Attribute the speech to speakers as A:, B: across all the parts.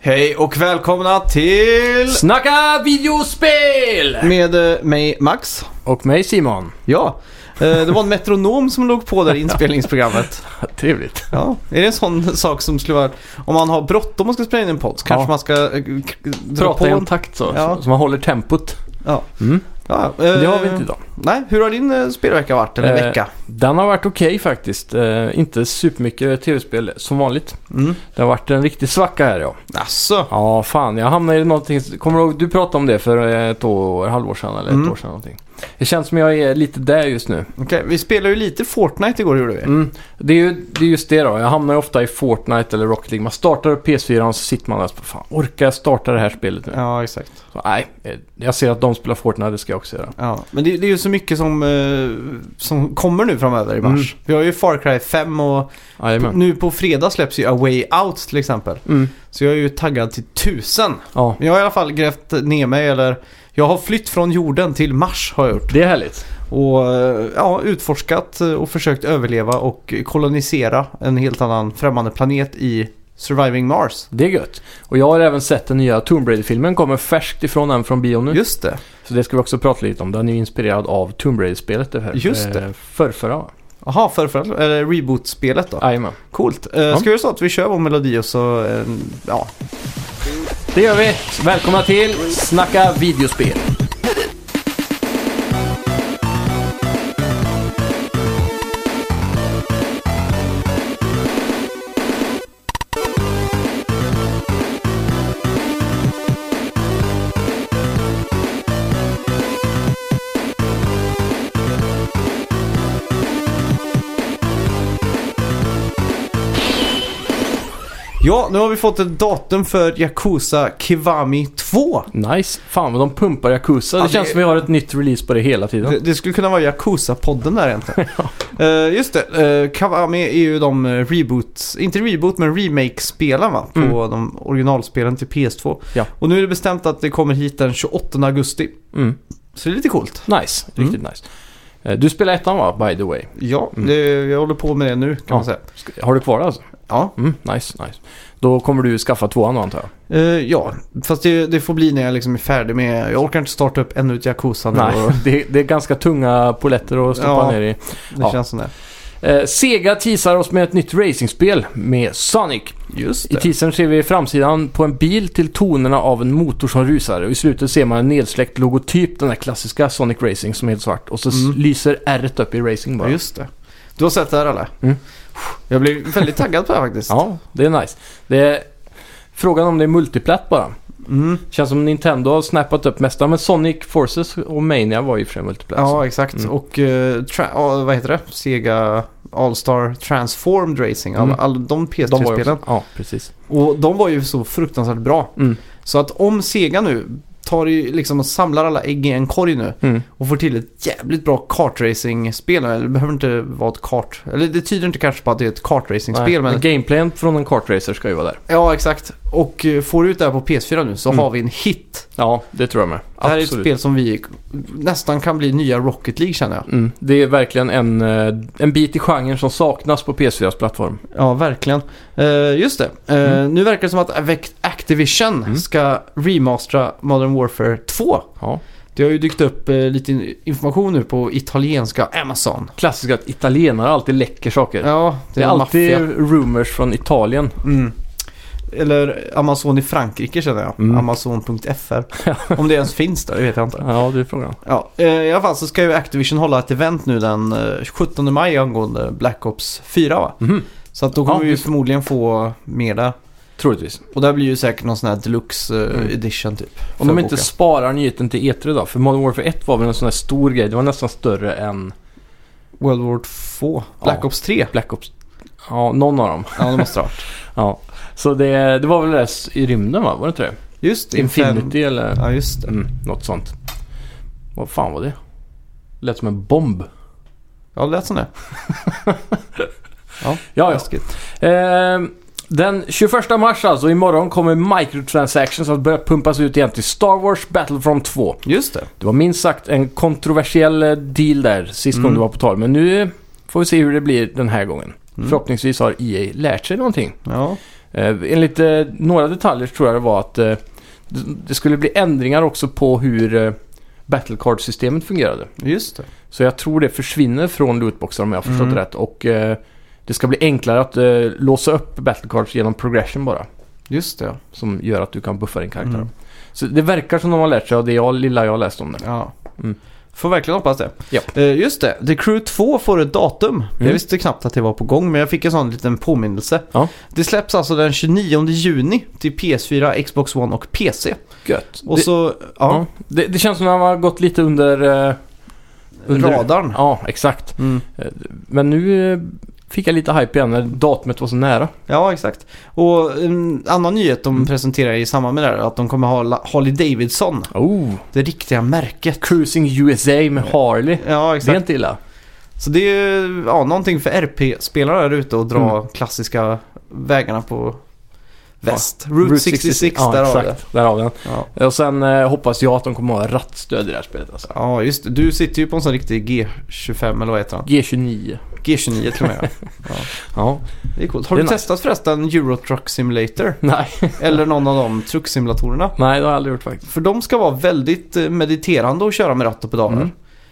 A: Hej och välkomna till...
B: Snacka videospel!
A: Med eh, mig Max.
B: Och mig Simon.
A: Ja, eh, det var en metronom som låg på där i inspelningsprogrammet.
B: Trevligt.
A: Ja. Är det en sån sak som skulle vara... Om man har bråttom och ska spela in en podd så kanske
B: Ja.
A: man ska eh, k- dra
B: Prata i
A: på
B: en
A: en...
B: takt så,
A: Ja.
B: så man håller tempot.
A: Ja.
B: Mm.
A: Ja, eh,
B: Det har vi inte idag.
A: Nej, hur har din eh, spelvecka varit? Eller
B: Eh.
A: vecka?
B: Den har varit okej faktiskt. Eh, inte supermycket tv-spel som vanligt.
A: Mm.
B: Det har varit en riktig svacka här ja.
A: Asså.
B: Ja, fan. Jag hamnade i någonting. Kommer du ihåg? Du pratade om det för eh, ett år, halvår sedan eller
A: Mm.
B: ett år sedan någonting. Det känns som jag är lite där just nu.
A: Okej, vi spelade ju lite Fortnite igår gjorde vi.
B: Mm. Det, är ju, det är just det då. Jag hamnar ju ofta i Fortnite eller Rocket League. Man startar upp PS4 och så sitter man där och så, fan orkar jag starta det här spelet nu?
A: Ja, exakt.
B: Så, nej, eh, jag ser att de spelar Fortnite, det ska jag också göra.
A: Ja. Men det, det är ju så mycket som, eh, som kommer nu framöver i mars.
B: Mm.
A: Vi har ju Far Cry 5 och
B: Jajamän.
A: nu på fredag släpps ju A Way Out till exempel.
B: Mm.
A: Så jag är ju taggad till tusen.
B: Ja,
A: Men jag har i alla fall grävt ner mig eller jag har flytt från jorden till Mars har jag gjort.
B: det är härligt.
A: Och eh, ja, utforskat eh, och försökt överleva och kolonisera en helt annan främmande planet i Surviving Mars.
B: Det är gött. Och jag har även sett den nya Tomb Raider-filmen, kommer färskt ifrån den från bion nu.
A: Just det.
B: Så det ska vi också prata lite om. Den är ju inspirerad av Tomb Raider-spelet. Det här.
A: Just det.
B: Eh, Förrförra va?
A: Jaha, förrförra, eller reboot-spelet då.
B: Jajamän.
A: Coolt. Eh, Ska vi göra så att vi kör vår melodi och så, eh, ja.
B: Det gör vi. Välkomna till Snacka videospel.
A: Ja, nu har vi fått ett datum för Yakuza Kiwami 2.
B: Nice. Fan vad de pumpar Yakuza.
A: Ja,
B: det
A: det-
B: känns som vi har ett nytt release på det hela tiden.
A: Det, det skulle kunna vara Yakuza-podden där egentligen. Eh, just det, uh, Kawami är ju de eh, reboots, inte reboot men remake-spelen va? På
B: Mm.
A: de originalspelen till PS2.
B: Ja.
A: Och nu är det bestämt att det kommer hit den 28 augusti.
B: Mm.
A: Så det är lite coolt.
B: Nice.
A: Mm.
B: Riktigt nice. Eh, Du spelar ettan va, by the way?
A: Ja,
B: Mm.
A: det, jag håller på med det nu kan
B: Ja.
A: man säga.
B: Ska- Har du kvar det alltså?
A: Ja,
B: Mm, nice, nice. Då kommer du skaffa tvåan då antar jag?
A: Eh, ja. fast det, det får bli när jag liksom är färdig med, jag orkar inte starta upp ännu ett Yakuza nu. Och,
B: Nej, det, det är ganska tunga poletter att stoppa
A: Ja.
B: ner i.
A: det
B: Ja.
A: känns som det.
B: Eh, Sega teasar oss med ett nytt racingspel med Sonic.
A: Just
B: I teasern ser vi framsidan på en bil till tonerna av en motor som rusar. Och I slutet ser man en nedsläckt logotyp, den där klassiska Sonic Racing som är helt svart. Och så s-
A: Mm.
B: lyser r upp i racing bara.
A: Ja, just det. Du har sett det här eller?
B: Mm.
A: Jag blev väldigt taggad på det här faktiskt.
B: Ja, det är nice. Det är frågan om det är multiplatt bara.
A: Mm.
B: Känns som Nintendo har snappat upp mesta, men Sonic Forces och Mania var ju för sig multiplatt. så.
A: Ja, exakt.
B: Mm.
A: Och eh, tra- ja, vad heter det? Sega All-Star Transformed Racing. Alla,
B: Mm.
A: alla de
B: De var ju
A: PS3-spelen.
B: också, ja, precis.
A: Och de var ju så fruktansvärt bra.
B: Mm.
A: Så att om Sega nu tar i, liksom och samlar alla ägg i en korg nu
B: Mm.
A: och får till ett jävligt bra kartracing-spel. Eller det behöver inte vara ett kart... Eller det tyder inte kanske på att det är ett
B: Nej,
A: kartracing-spel. Men...
B: men gameplayen från en kartracer ska ju vara där.
A: Ja, exakt. Och eh, får ut det här på PS4 nu så
B: Mm.
A: har vi en hit.
B: Ja, det tror jag med.
A: Det här är ett
B: Absolut.
A: spel som vi nästan kan bli nya Rocket League känner jag.
B: Mm. Det är verkligen en, eh, en bit i genren som saknas på PS4s plattform.
A: Ja, verkligen. Eh, just det. Eh, Nu verkar det som att Avec- Activision
B: Mm.
A: ska remastera Modern Warfare 2.
B: Ja.
A: Det har ju dykt upp eh, lite in- information nu på italienska Amazon.
B: Klassiskt att italienare alltid läcker saker.
A: Ja, det,
B: det är
A: är
B: alltid
A: maffia.
B: rumors från Italien.
A: Mm. Eller Amazon i Frankrike känner jag.
B: Mm.
A: Amazon.fr. Om det ens finns där, det vet jag inte.
B: Ja, det är frågan.
A: Ja, eh, I alla fall så ska ju Activision hålla ett event nu den eh, 17 maj angående Black Ops 4 va?
B: Mhm.
A: Så att då kommer
B: Ja,
A: vi ju
B: just det.
A: förmodligen få mer där.
B: Troligtvis.
A: Och där blir ju säkert någon sån här deluxe eh,
B: Mm.
A: edition typ.
B: Om de
A: Förboka.
B: inte sparar nyheten till E3 då. För Modern Warfare 1 var väl en sån här stor grej. Det var nästan större än
A: World War 2? Black
B: Ja.
A: Ops 3?
B: Black Ops. Ja, någon av dem.
A: Ja, det måste det ha varit.
B: Ja. Så det, det var väl det där s- i rymden va? Var det inte det?
A: Just det.
B: Infinity eller
A: Ja, just det.
B: mm, något sånt. Vad fan var det? Lät som en bomb.
A: Ja, det lät som det. ja,
B: Ja, ja.
A: läskigt.
B: Ehm, den 21 mars alltså, imorgon kommer microtransactions att börja pumpas ut igen till Star Wars Battlefront 2.
A: Just det.
B: Det var minst sagt en kontroversiell eh, deal där sist gången
A: Mm.
B: det var på tal. Men nu får vi se hur det blir den här gången.
A: Mm.
B: Förhoppningsvis har EA lärt sig någonting.
A: Ja.
B: Eh, Eh, enligt eh, några detaljer tror jag det var att eh, det det skulle bli ändringar också på hur eh, Battlecard-systemet fungerade.
A: Just det.
B: Så jag tror det försvinner från lootboxar om jag har förstått
A: Mm.
B: det rätt. Och eh, det ska bli enklare att eh, låsa upp Battlecards genom progression bara.
A: Just det,
B: Som gör att du kan buffa din karaktär.
A: Mm.
B: Så det verkar som de har lärt sig av det jag, lilla jag har läst om det.
A: ja.
B: Mm.
A: Får verkligen hoppas det.
B: Ja.
A: Eh, just det, The Crew 2 får ett datum. Jag
B: Mm.
A: visste knappt att det var på gång, men jag fick en sån liten påminnelse.
B: Ja.
A: Det släpps alltså den 29 juni till PS4, Xbox One och PC.
B: Gött.
A: Och
B: det,
A: så, ja,
B: ja. det, det känns som att de har gått lite under... Eh, under-
A: radarn.
B: Ja, exakt.
A: Mm.
B: Men nu eh, fick jag lite hype igen när datumet var så nära.
A: Ja, exakt. Och en annan nyhet de
B: Mm.
A: presenterar i samband med det här är att de kommer ha La- Harley Davidson,
B: Oh.
A: det riktiga märket.
B: Cruising USA med Harley.
A: Ja,
B: Det är
A: exakt.
B: inte illa.
A: Så det är ju ja, någonting för RP-spelare där ute att dra
B: Mm.
A: klassiska vägarna på väst. Route, 66,
B: ja,
A: där har
B: exakt.
A: vi det.
B: Där har vi den.
A: Ja.
B: Och sen eh, hoppas jag att de kommer ha rattstöd i det här spelet alltså.
A: ja, just det. Du sitter ju på en sån riktig G25 eller vad heter han?
B: G29.
A: G29 tror jag.
B: Ja.
A: Det är coolt. Har
B: Det
A: du
B: är nice.
A: testat förresten Euro Truck Simulator?
B: Nej.
A: Eller någon av de trucksimulatorerna?
B: Nej, det har jag aldrig gjort faktiskt.
A: För de ska vara väldigt eh, mediterande att köra med ratt och pedaler.
B: Mm.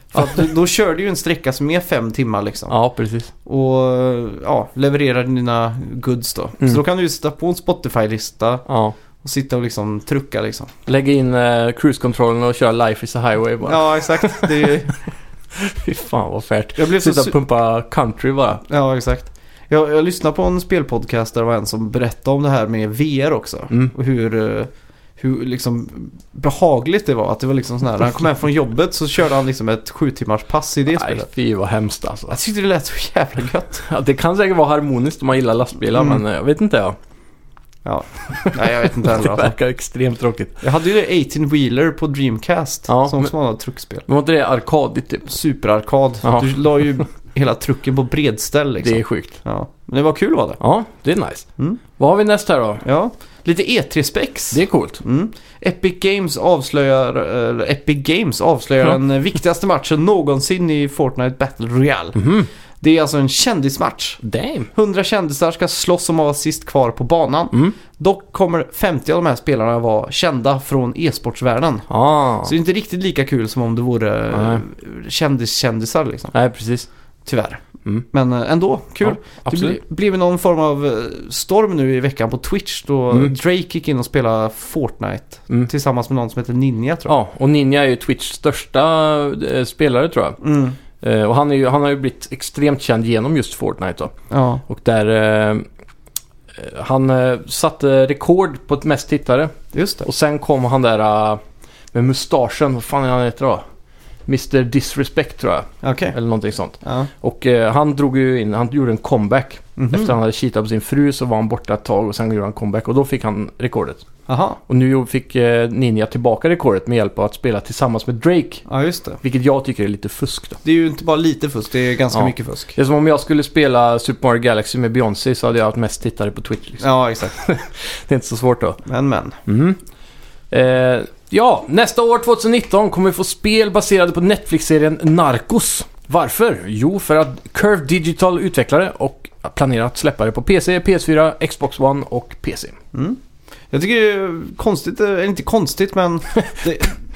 A: För att du, då kör du ju en sträcka som är fem timmar liksom.
B: Ja, precis.
A: Och eh, ja, levererar dina goods då.
B: Mm.
A: Så då kan du ju sitta på en Spotify-lista
B: Ja.
A: och sitta och liksom trucka liksom.
B: Lägga in eh, cruise-kontrollen och köra Life is a highway bara.
A: Ja, exakt. Det är, ju-
B: Fy fan vad färt.
A: jag blev så...
B: Sitta
A: Su-
B: och pumpa country bara.
A: ja, exakt. Jag, jag lyssnade på en spelpodcast där det var en som berättade om det här med VR också.
B: Mm.
A: Och hur, eh, hur liksom behagligt det var. Att det var liksom sån här, när han kom hem från jobbet så körde han liksom ett sju timmars pass i det
B: Nej,
A: spelet.
B: fy vad hemskt alltså.
A: Jag tyckte det lät så jävla gött.
B: Ja, det kan säkert vara harmoniskt om man gillar lastbilar,
A: Mm.
B: men eh, jag vet inte jag.
A: Nej, jag vet inte heller.
B: Det
A: Alltså.
B: verkar extremt tråkigt.
A: Jag hade ju det 18-wheeler på Dreamcast.
B: Ja,
A: som
B: men-
A: också var något truckspel.
B: Men var inte det arkadigt typ?
A: Superarkad.
B: Ja.
A: Du la ju hela trucken på bredställ liksom.
B: Det är sjukt.
A: Ja. Men det var kul var det.
B: Ja, det är nice.
A: Mm.
B: Vad har vi nästa här då?
A: Ja. Lite E3-spex.
B: Det är coolt.
A: Mm. Epic Games avslöjar, eller Epic Games avslöjar
B: Ja.
A: den eh, viktigaste matchen någonsin i Fortnite Battle Royale.
B: Mhm.
A: Det är alltså en kändismatch.
B: Damn.
A: 100 kändisar ska slåss om att vara sist kvar på banan.
B: Mm.
A: Dock kommer 50 av de här spelarna vara kända från e-sportsvärlden.
B: Ah.
A: Så det är inte riktigt lika kul som om det vore eh,
B: Nej.
A: kändis-kändisar liksom.
B: Nej, precis.
A: Tyvärr.
B: Mm.
A: Men eh, ändå, kul. det
B: Absolut.
A: ble- blev någon form av eh, storm nu i veckan på Twitch då
B: Mm.
A: Drake gick in och spelade Fortnite
B: Mm.
A: tillsammans med någon som heter Ninja tror jag.
B: Ja, och Ninja är ju Twitchs största eh, spelare tror jag.
A: Mm.
B: Eh, och han, är ju, han har ju blivit extremt känd genom just Fortnite då.
A: Ja,
B: Och där... Eh, eh, han eh, satte rekord på ett mest tittare.
A: just det.
B: Och sen kom han där eh, med mustaschen, vad fan är han heter då? Mr Disrespect tror jag,
A: Okej.
B: eller någonting sånt.
A: Ja.
B: Och eh, han drog ju in, han gjorde en comeback.
A: Mhm.
B: Efter han hade cheatat på sin fru så var han borta ett tag och sen gjorde han comeback och då fick han rekordet.
A: Aha.
B: Och nu fick eh, Ninja tillbaka rekordet med hjälp av att spela tillsammans med Drake.
A: Ja, just det.
B: Vilket jag tycker är lite fusk då.
A: Det är ju inte bara lite fusk, det är ganska
B: Ja.
A: mycket fusk.
B: Det är som om jag skulle spela Super Mario Galaxy med Beyoncé så hade jag haft mest tittare på Twitch. Liksom.
A: Ja, exakt.
B: Det är inte så svårt då.
A: Men men.
B: Mm. Eh, ja, nästa år 2019 kommer vi få spel baserade på Netflix-serien Narcos. Varför? Jo, för att Curve Digital utvecklare och planerar att släppa det på PC, PS4, Xbox One och PC.
A: Mm. Jag tycker det är konstigt, eh, eller inte konstigt men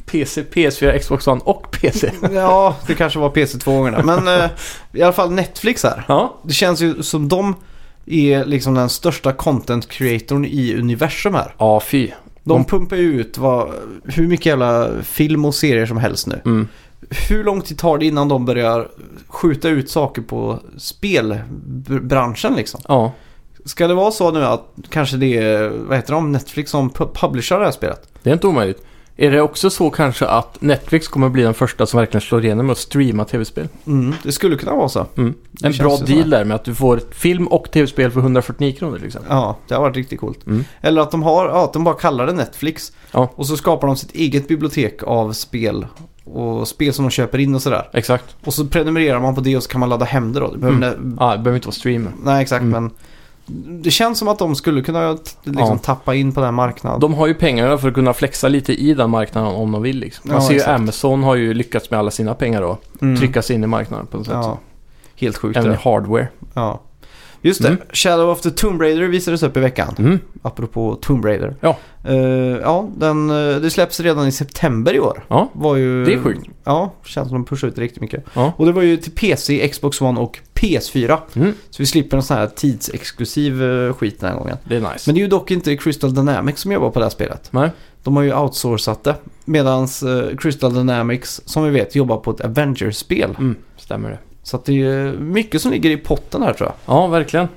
B: PC, PS4, Xbox One och PC.
A: ja, det kanske var PC två gånger där. Men eh, i alla fall Netflix här.
B: ja,
A: Det känns ju som de är liksom den största content creatorn i universum här.
B: ja fy.
A: De
B: Mm.
A: pumpar ju ut vad, hur mycket jävla film och serier som helst nu.
B: Mm.
A: Hur lång tid tar det innan de börjar skjuta ut saker på spelbranschen liksom?
B: Ja,
A: Ska det vara så nu att kanske det är, vad heter de, Netflix som pu- publishar det här spelet?
B: det är inte omöjligt. Är det också så kanske att Netflix kommer bli den första som verkligen slår igenom med att streama tv-spel?
A: Mm, det skulle kunna vara så.
B: Mm.
A: Det
B: En
A: känns
B: bra
A: ju så här.
B: deal där med att du får film och tv-spel för 149 kronor till exempel.
A: Ja, det har varit riktigt coolt.
B: Mm.
A: Eller att de, har, ja, att de bara kallar det Netflix.
B: Ja.
A: Och så skapar de sitt eget bibliotek av spel. Och spel som de köper in och sådär.
B: Exakt.
A: Och så prenumererar man på det och så kan man ladda hem det då. Det behöver,
B: Ja, det behöver inte vara streamer.
A: Nej, exakt
B: Mm.
A: men det känns som att de skulle kunna t- liksom
B: Ja.
A: tappa in på den här marknaden.
B: De har ju pengarna för att kunna flexa lite i den marknaden om de vill. Liksom. Man
A: Ja,
B: ser ju
A: exakt.
B: Amazon har ju lyckats med alla sina pengar då.
A: Mm.
B: Trycka sig in i marknaden på något sätt.
A: Ja. Helt sjukt
B: Även i
A: det.
B: hardware.
A: Ja. Just det.
B: Mm.
A: Shadow of the Tomb Raider visades upp i veckan.
B: Mm.
A: Apropå Tomb Raider.
B: Ja.
A: Eh, ja, den, eh, det släpps redan i september i år.
B: Ja.
A: Var ju,
B: Det är sjukt.
A: Ja, känns som de pushar ut det riktigt mycket.
B: Ja.
A: Och det var ju till PC, Xbox One och PS4.
B: Mm.
A: Så vi slipper en sån här tidsexklusiv eh, skit den här gången.
B: Det är nice.
A: Men det är ju dock inte Crystal Dynamics som jobbar på det här spelet.
B: Nej.
A: De har ju outsourcat det. Medan Crystal Dynamics, som vi vet, jobbar på ett Avengers-spel.
B: Mm. Stämmer det.
A: Så att det är mycket som ligger i potten här tror jag.
B: Ja, verkligen.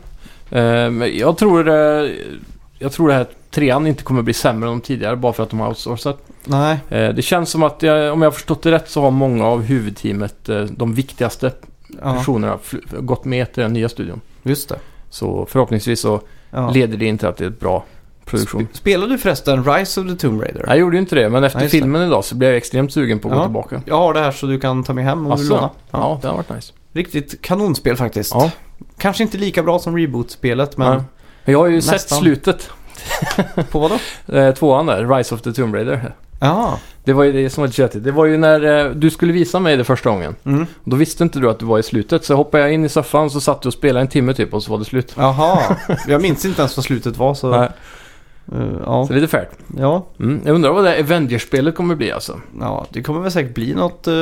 B: Eh, men jag tror det... Jag tror det här trean inte kommer bli sämre än de tidigare bara för att de har outsourcat.
A: Nej,
B: Eh, Det känns som att, jag, om jag har förstått det rätt, så har många av huvudteamet, eh, de viktigaste
A: ja,
B: personerna, fl- gått med till den nya studion.
A: just det.
B: Så förhoppningsvis så
A: Ja.
B: leder det inte att det är ett bra produktion.
A: Sp- Spelade du förresten Rise of the Tomb Raider?
B: Jag gjorde ju inte det, men efter
A: Nej, just det.
B: filmen idag så blev jag extremt sugen på att gå
A: Ja.
B: tillbaka.
A: Jag har det här så du kan ta med hem om
B: Asså?
A: du vill låna. Ja.
B: Ja, det har varit nice.
A: Riktigt kanonspel faktiskt.
B: Ja.
A: Kanske inte lika bra som reboot-spelet, men
B: Ja. Men jag har ju sett
A: Nästan.
B: slutet,
A: på vad då?
B: eh, tvåan där, Rise of the Tomb Raider.
A: Ja,
B: Det var ju det som var tjötigt. Det var ju när eh, du skulle visa mig det första gången.
A: mm.
B: Då visste inte du att du var i slutet, så hoppade jag in i soffan så satt du och spelade en timme typ och så var det slut.
A: Jaha, jag minns inte ens vad slutet var så...
B: Nej,
A: Eh, ja.
B: så lite färt.
A: ja,
B: Mm, jag undrar vad det här Avengers-spelet kommer bli alltså.
A: ja, det kommer väl säkert bli något eh,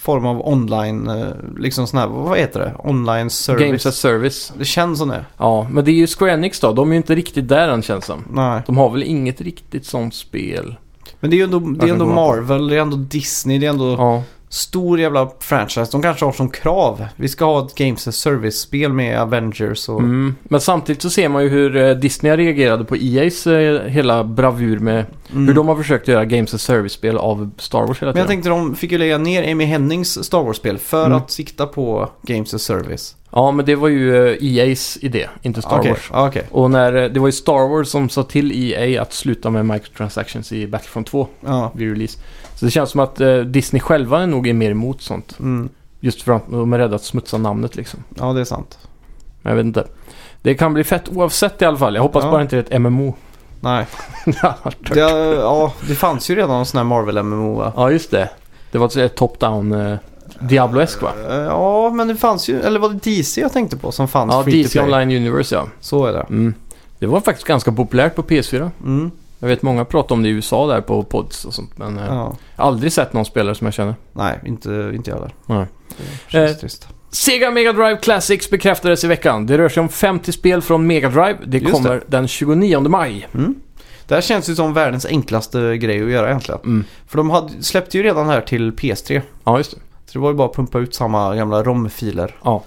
A: form av online, eh, liksom sån här, vad heter det? Online service.
B: Games as service.
A: Det känns som det.
B: Ja, men det är ju Square Enix då. De är ju inte riktigt där än känns som.
A: Nej.
B: De har väl inget riktigt sånt spel.
A: Men det är ju ändå, det är ändå
B: Jag kan gå
A: Marvel, det är ändå Disney, det är ändå
B: Ja,
A: stor jävla franchise. De kanske har som krav, vi ska ha ett Games as Service-spel med Avengers och...
B: mm. Men samtidigt så ser man ju hur eh, Disney reagerade på EA's eh, hela bravur med
A: Mm.
B: hur de har försökt göra Games as Service-spel av Star Wars hela
A: Men jag
B: tiden.
A: tänkte de fick ju lägga ner Amy Hennings Star Wars-spel för
B: Mm.
A: att sikta på Games as Service. Ah,
B: Ja, men det var ju eh, EA's idé, inte Star
A: Okej,
B: Wars.
A: ja, Okej,
B: Och när, eh, det var ju Star Wars som sa till EA att sluta med microtransactions i Battlefront 2
A: ja.
B: vid release. Så det känns som att eh, Disney själva nog är mer emot sånt.
A: Mm.
B: Just för att de är rädda att smutsa namnet liksom.
A: Ja, det är sant.
B: Men jag vet inte. Det kan bli fett oavsett i alla fall. Jag hoppas
A: Ja.
B: bara inte det är ett MMO.
A: Nej,
B: Det hade varit
A: det,
B: tört.
A: ja, det fanns ju redan en sån här Marvel-MMO va?
B: ja, just det. Det var ett top-down eh, Diablo-esk va?
A: Eh, Ja, men det fanns ju, eller var det DC jag tänkte på som fanns
B: Ja,
A: free to
B: DC
A: play?
B: Online Universe ja.
A: Så är det.
B: Mm. Det var faktiskt ganska populärt på PS4.
A: Mm,
B: Jag vet många pratar om det i USA där på pods och sånt. Men eh,
A: ja.
B: jag har aldrig sett någon spelare som jag känner.
A: Nej, inte, inte jag heller.
B: Nej.
A: Det känns
B: Eh,
A: trist.
B: Sega Mega Drive Classics bekräftades i veckan. Det rör sig om 50 spel från Mega Drive. Det
A: Just
B: kommer den 29 maj.
A: Mm. Det här känns ju som världens enklaste grej att göra egentligen.
B: Mm.
A: För de hade, släppte ju redan här till PS3.
B: Ja, just det.
A: Så det var ju bara att pumpa ut samma gamla ROM-filer.
B: Och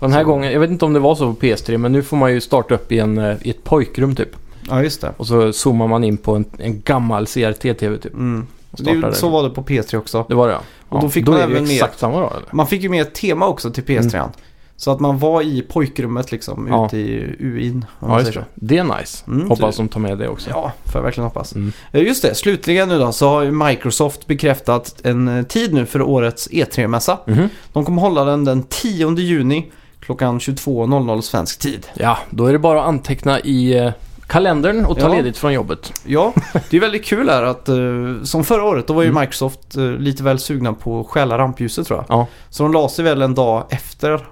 B: Den här
A: Så-
B: gången, jag vet inte om det var så på PS3, men nu får man ju starta upp i, en, eh, i ett pojkrum typ.
A: Ja, just det.
B: Och så zoomar man in på en, en gammal CRT-TV typ.
A: Mm.
B: Och
A: Det är
B: startar
A: ju,
B: det,
A: så var det på PS3 också.
B: det var det ja.
A: Och
B: ja.
A: då fick
B: då
A: man
B: är det ju
A: även med-
B: exakt samma då eller?
A: Man fick ju med ett tema också till PS3. an Så att man var i pojkrummet liksom,
B: Mm. Ja.
A: ute i UIN. om man
B: Ja, just
A: säger
B: det. Det är nice.
A: Mm,
B: Hoppas
A: så-
B: de tar med det också.
A: Ja, får jag verkligen hoppas.
B: Mm.
A: Eh, Just det, slutligen nu då så har ju Microsoft bekräftat en eh, tid nu för årets E3-mässa.
B: Mhm.
A: De kommer hålla den den 10 juni klockan 22.00 svensk tid.
B: ja, då är det bara att anteckna i eh, kalendern och ta
A: Ja.
B: ledigt från jobbet.
A: Ja, det är väldigt kul här att eh, som förra året då var ju
B: Mm.
A: Microsoft eh, lite väl sugna på att stjäla rampljuset tror jag.
B: Ja.
A: Så de la sig väl en dag efter.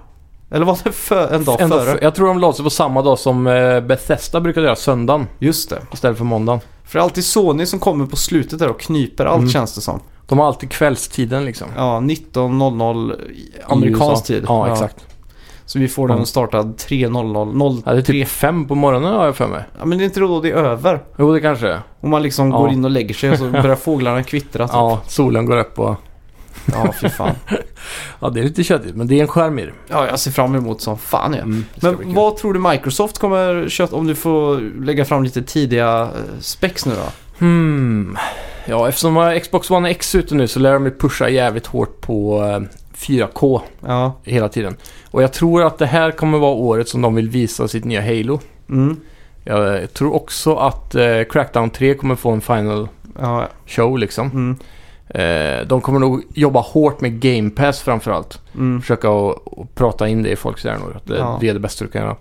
A: Eller var det för, en dag
B: En dag
A: före?
B: för- jag tror de la sig på samma dag som eh, Bethesda brukade göra, söndagen
A: Just det.
B: istället för måndagen.
A: För det är alltid Sony som kommer på slutet där och knyper allt
B: Mm.
A: känns det som.
B: De har alltid kvällstiden liksom. I
A: Ja, 19.00 i amerikansk
B: USA.
A: tid.
B: Ja, exakt.
A: Så vi får
B: Mm.
A: den startad 3.00.
B: Ja, det är typ fem på morgonen har jag för mig.
A: Ja, men det är inte då det är över.
B: Jo, det kanske det är.
A: Om man liksom
B: Ja.
A: går in och lägger sig och så börjar fåglarna kvittra. Typ.
B: Ja, solen går upp och...
A: ja, fy fan.
B: Ja, det är lite köttigt, men det är en charm i det.
A: Ja, jag ser fram emot som fan ja.
B: Mm,
A: Men vad tror du Microsoft kommer köpa om du får lägga fram lite tidiga eh, specs nu då?
B: Hmm. Ja, eftersom jag har Xbox One X ute nu så lär de ju pusha jävligt hårt på eh, 4K
A: Ja,
B: hela tiden. Och jag tror att det här kommer vara året som de vill visa sitt nya Halo.
A: mm.
B: Jag eh, tror också att eh, Crackdown 3 kommer få en final
A: ja,
B: show liksom.
A: mm.
B: Eh, de kommer nog jobba hårt med Game Pass framförallt.
A: Mm.
B: Försöka att- att prata in det i folks hjärnor. Att det,
A: Ja.
B: det är det bästa du kan göra.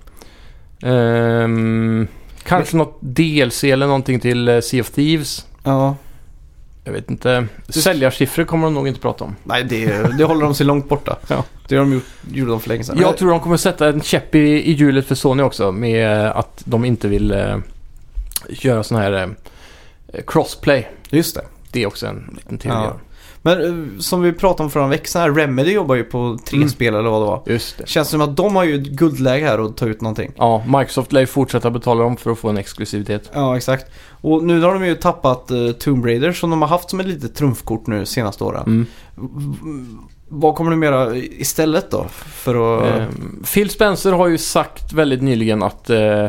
B: Ehm, kanske något DLC eller någonting till eh, Sea of Thieves.
A: ja.
B: Jag vet inte. Säljarsiffror kommer de nog inte prata om.
A: Nej, det, det håller de sig långt borta.
B: Ja.
A: Det har de gjort, gjorde de för länge sedan.
B: Jag tror de kommer sätta en käpp i, i hjulet för Sony också med eh, att de inte vill eh, göra sån här eh, crossplay.
A: Just det.
B: Det är också en liten till
A: Ja. Men eh, som vi pratade om förra veckan, här, Remedy jobbar ju på tre
B: Mm.
A: spel eller vad det var.
B: Just det.
A: Känns som att de har ju ett guldläge här att ta ut någonting.
B: Ja, Microsoft lär ju fortsätta betala dem för att få en exklusivitet.
A: Ja, exakt. Och nu har de ju tappat eh, Tomb Raider som de har haft som ett litet trumfkort nu senaste åren.
B: Mm.
A: V- Vad kommer de göra istället då? För att...
B: Ehm, Phil Spencer har ju sagt väldigt nyligen att eh,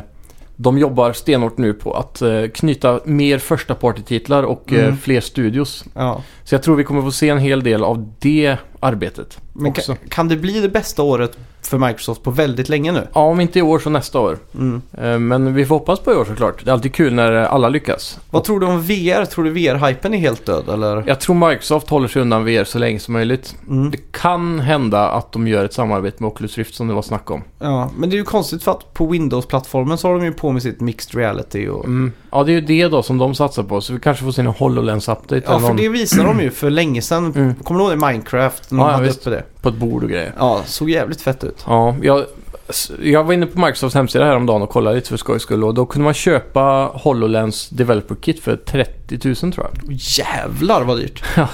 B: de jobbar stenhårt nu på att eh, knyta mer första party-titlar och eh,
A: Mm.
B: fler studios.
A: ja.
B: Så jag tror vi kommer få se en hel del av det arbetet.
A: Men
B: också.
A: kan, kan det bli det bästa året för Microsoft på väldigt länge nu?
B: Ja, om inte i år så nästa år.
A: Mm.
B: Eh, Men vi får hoppas på i år såklart. Det är alltid kul när eh, alla lyckas.
A: Vad tror du om VR? Tror du VR-hypen är helt död eller?
B: Jag tror Microsoft håller sig undan VR så länge som möjligt.
A: Mm.
B: Det kan hända att de gör ett samarbete med Oculus Rift som det var snack om.
A: Ja, men det är ju konstigt för att på Windows-plattformen så har de ju på med sitt mixed reality och...
B: Mm. Ja, det är ju det då som de satsar på. Så vi kanske får se någon HoloLens-update
A: Ja,
B: eller
A: för
B: någon
A: det visade de ju för länge sedan.
B: Mm.
A: Kommer du ihåg det? Minecraft, när de
B: Ja, ja,
A: hade
B: visst.
A: uppe det.
B: på ett bord och grejer.
A: Ja, såg jävligt fett ut.
B: Ja, jag, s- jag var inne på Microsofts hemsida häromdagen och kollade lite för skojs skull. Och då kunde man köpa HoloLens Developer Kit för 30 000 tror jag.
A: Jävlar vad dyrt.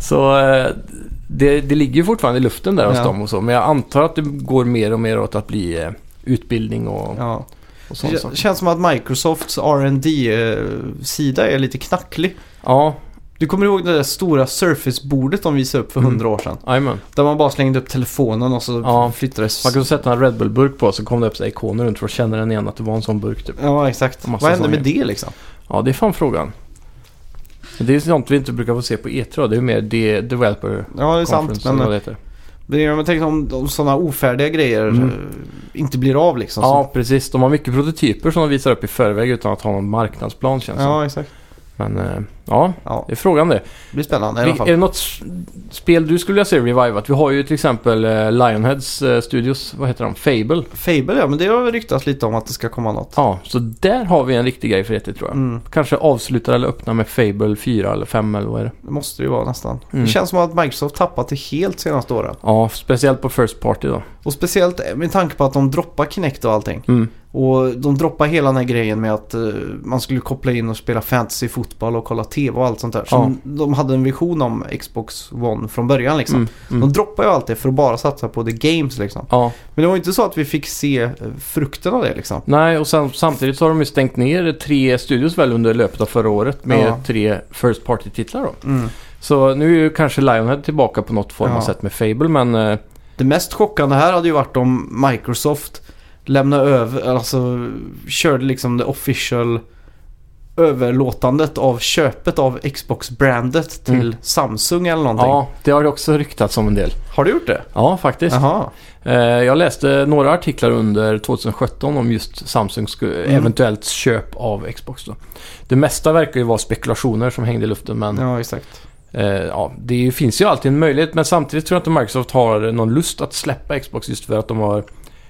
B: Så eh, det, det ligger ju fortfarande i luften där hos
A: Ja.
B: dem och så. Men jag antar att det går mer och mer åt att bli eh, utbildning och,
A: Ja.
B: och sånt.
A: Det
B: saker.
A: känns som att Microsofts rd eh, sida är lite knacklig.
B: Ja,
A: Du kommer ihåg det där stora Surface-bordet de visade upp för
B: Mm.
A: hundra år sedan?
B: jajamän.
A: Där man bara slängde upp telefonen och så
B: Ja.
A: flyttades...
B: Man kunde sätta en Red Bull-burk på så kom det upp så här ikoner runt för att känna den igen att det var en sån burk typ.
A: Ja, exakt.
B: Massa
A: Vad hände
B: sånger.
A: med det liksom?
B: Ja, det är fan frågan. Men Det är sånt vi inte brukar få se på E3 Det är ju mer det Developer
A: Ja, det är sant.
B: Conference. eller
A: Men eh,
B: vad det heter.
A: det är- jag tänkte om, om sådana ofärdiga grejer
B: Mm.
A: eh, inte blir av liksom.
B: Ja, precis. De har mycket prototyper som de visar upp i förväg utan att ha någon marknadsplan
A: så.
B: känns det
A: ja exakt.
B: som. Men eh, ja,
A: Ja,
B: det är frågan det.
A: det blir spännande i alla
B: Är
A: fall.
B: det något s- spel du skulle vilja se revivat? Vi har ju till exempel eh, Lionheads eh, Studios, vad heter de? Fable.
A: Fable ja, men det har väl ryktats lite om att det ska komma något.
B: Ja, så där har vi en riktig grej för E3 tror jag.
A: Mm,
B: Kanske avsluta eller öppna med Fable 4 eller 5 eller vad är det?
A: det måste det ju vara nästan.
B: Mm.
A: Det känns som att Microsoft tappat det helt senaste åren.
B: Ja, speciellt på First Party då.
A: Och speciellt eh, med tanke på att de droppar Kinect och allting.
B: Mm.
A: Och de droppar hela den här grejen med att eh, man skulle koppla in och spela fantasy fotboll och kolla tv och allt sånt där. Som de hade en vision om Xbox One från början liksom.
B: Mm.
A: De
B: Mm.
A: droppar ju allt det för att bara satsa på the games liksom.
B: Ja,
A: Men det var ju inte så att vi fick se eh, frukten av det liksom.
B: nej och sen, samtidigt så har de ju stängt ner tre studios väl under löpet av förra året med
A: Ja.
B: tre First Party-titlar då. Så nu är ju kanske Lionhead tillbaka på något form av
A: Ja.
B: sätt med Fable men eh,
A: Det mest chockande här hade ju varit om Microsoft lämnade över, alltså körde liksom det official överlåtandet av köpet av Xbox-brandet till
B: Mm.
A: Samsung eller någonting.
B: ja, det har det också ryktats om en del.
A: Har du gjort det?
B: Ja, faktiskt.
A: Jaha.
B: Eh, Jag läste några artiklar under 2017 om just Samsungs sku-
A: Mm.
B: eventuellt köp av Xbox. Då. Det mesta verkar ju vara spekulationer som hängde i luften men
A: Ja, exakt.
B: eh, ja, det är ju- finns ju alltid en möjlighet. Men samtidigt tror jag inte Microsoft har någon lust att släppa Xbox just för att de har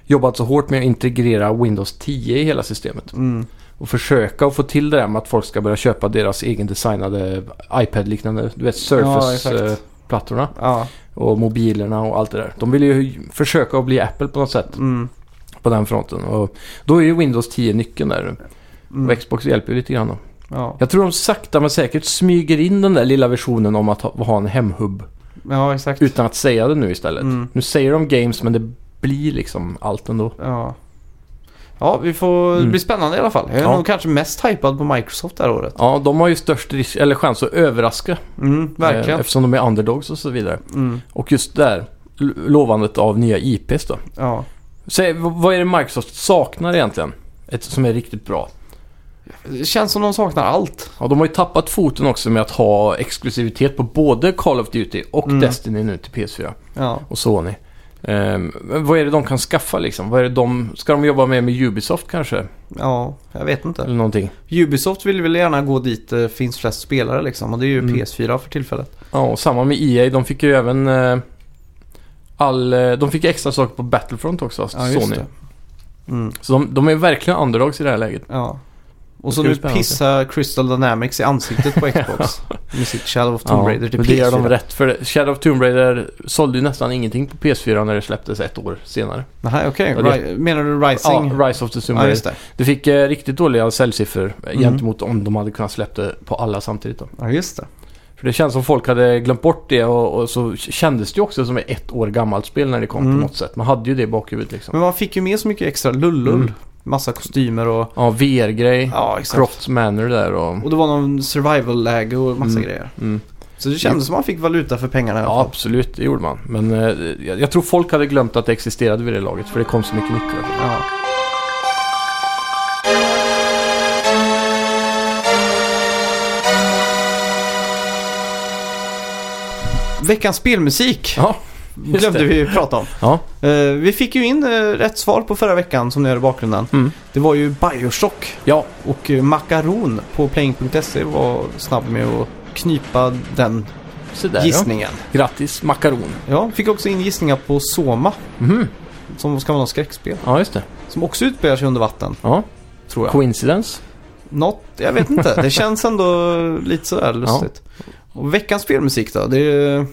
B: jobbat så hårt med att integrera Windows 10 i hela systemet.
A: Mm.
B: Och försöka att få till det där med att folk ska börja köpa deras egendesignade iPad-liknande, du vet
A: Ja, exakt.
B: Surface-plattorna
A: Ja,
B: och mobilerna och allt det där. De vill ju försöka att bli Apple på något sätt
A: mm.
B: på den fronten. Och då är ju Windows 10 nyckeln där.
A: Mm.
B: Och Xbox hjälper ju lite grann då.
A: Ja.
B: Jag tror de sakta men säkert smyger in den där lilla versionen om att ha, ha en hemhubb.
A: ja, exakt.
B: Utan att säga det nu istället.
A: Mm.
B: Nu säger de games men det blir liksom allt ändå.
A: Ja. ja, vi får... Det
B: Mm.
A: blir spännande i alla fall. Jag är
B: Ja.
A: nog kanske mest hypad på Microsoft det här året.
B: Ja, de har ju störst risk, eller chans att överraska.
A: Mm,
B: Eh,
A: verkligen.
B: Eftersom de är underdogs och så vidare.
A: Mm.
B: Och just där, l- lovandet av nya IPs då.
A: Ja.
B: Säg, v- vad är det Microsoft saknar egentligen? Ett som är riktigt bra.
A: Det känns som de saknar allt.
B: Ja, de har ju tappat foten också med att ha exklusivitet på både Call of Duty och
A: Mm.
B: Destiny nu till PS4
A: Ja.
B: och Sony. Ehm, men vad är det de kan skaffa liksom? Vad är det de, ska de jobba med med Ubisoft kanske?
A: Ja, jag vet inte.
B: Eller någonting?
A: Ubisoft vill väl gärna gå dit det finns flest spelare liksom. Och det är ju
B: Mm.
A: PS4 för tillfället.
B: Ja, och samma med EA. De fick ju även eh, all... eh, De fick extra saker på Battlefront också, Sony.
A: det. Mm.
B: Så de, de är verkligen underdogs i det här läget.
A: Ja.
B: Det
A: Och så
B: ska
A: nu
B: bli spännande.
A: pissar Crystal Dynamics i ansiktet på Xbox. med sitt Shadow of Tomb Raider till
B: men det gör de
A: PS4.
B: rätt för. det. Shadow of Tomb Raider sålde ju nästan ingenting på PS4 när det släpptes ett år senare.
A: Nej, okej.
B: Ja, det-
A: Ri- Menar du Rising?
B: Ja, Rise of the Tomb
A: Ja,
B: Raider.
A: just det.
B: det fick eh, riktigt dåliga säljsiffror eh,
A: Mm.
B: gentemot om de hade kunnat släppa det på alla samtidigt. Då.
A: Ja, just det.
B: För det känns som folk hade glömt bort det och, och så kändes det ju också som ett ett år gammalt spel när det kom
A: Mm.
B: på något sätt. Man hade ju det i bakhuvudet liksom.
A: Men man fick ju med så mycket extra lullull.
B: Mm.
A: Massa kostymer och...
B: Ja, VR-grej.
A: Ja, exakt.
B: Crofts Manor där och...
A: Och det var någon survival-läge och massa
B: Mm.
A: grejer.
B: Mm.
A: Så det kändes som man fick valuta för pengarna i alla
B: Ja,
A: fall.
B: absolut. Det gjorde man. Men eh, jag, jag tror folk hade glömt att det existerade vid det laget för det kom så mycket nytt.
A: Ja. Veckans spelmusik
B: Ja, just
A: glömde
B: det.
A: vi prata om.
B: Ja.
A: Eh, vi fick ju in eh, rätt svar på förra veckan som ni hör i bakgrunden.
B: Mm.
A: Det var ju Bioshock
B: Ja,
A: och uh, Macaron på playing.se var snabb med att knipa den
B: så där ja.
A: gissningen.
B: Grattis Makaron.
A: Ja, fick också in gissningar på Soma
B: Mhm.
A: som ska vara något skräckspel.
B: Ja, just det.
A: Som också utspelar sig under vatten,
B: Ja.
A: tror jag.
B: Coincidence?
A: Något, jag vet inte. Det känns ändå lite sådär lustigt. Och veckans spelmusik då? Det är,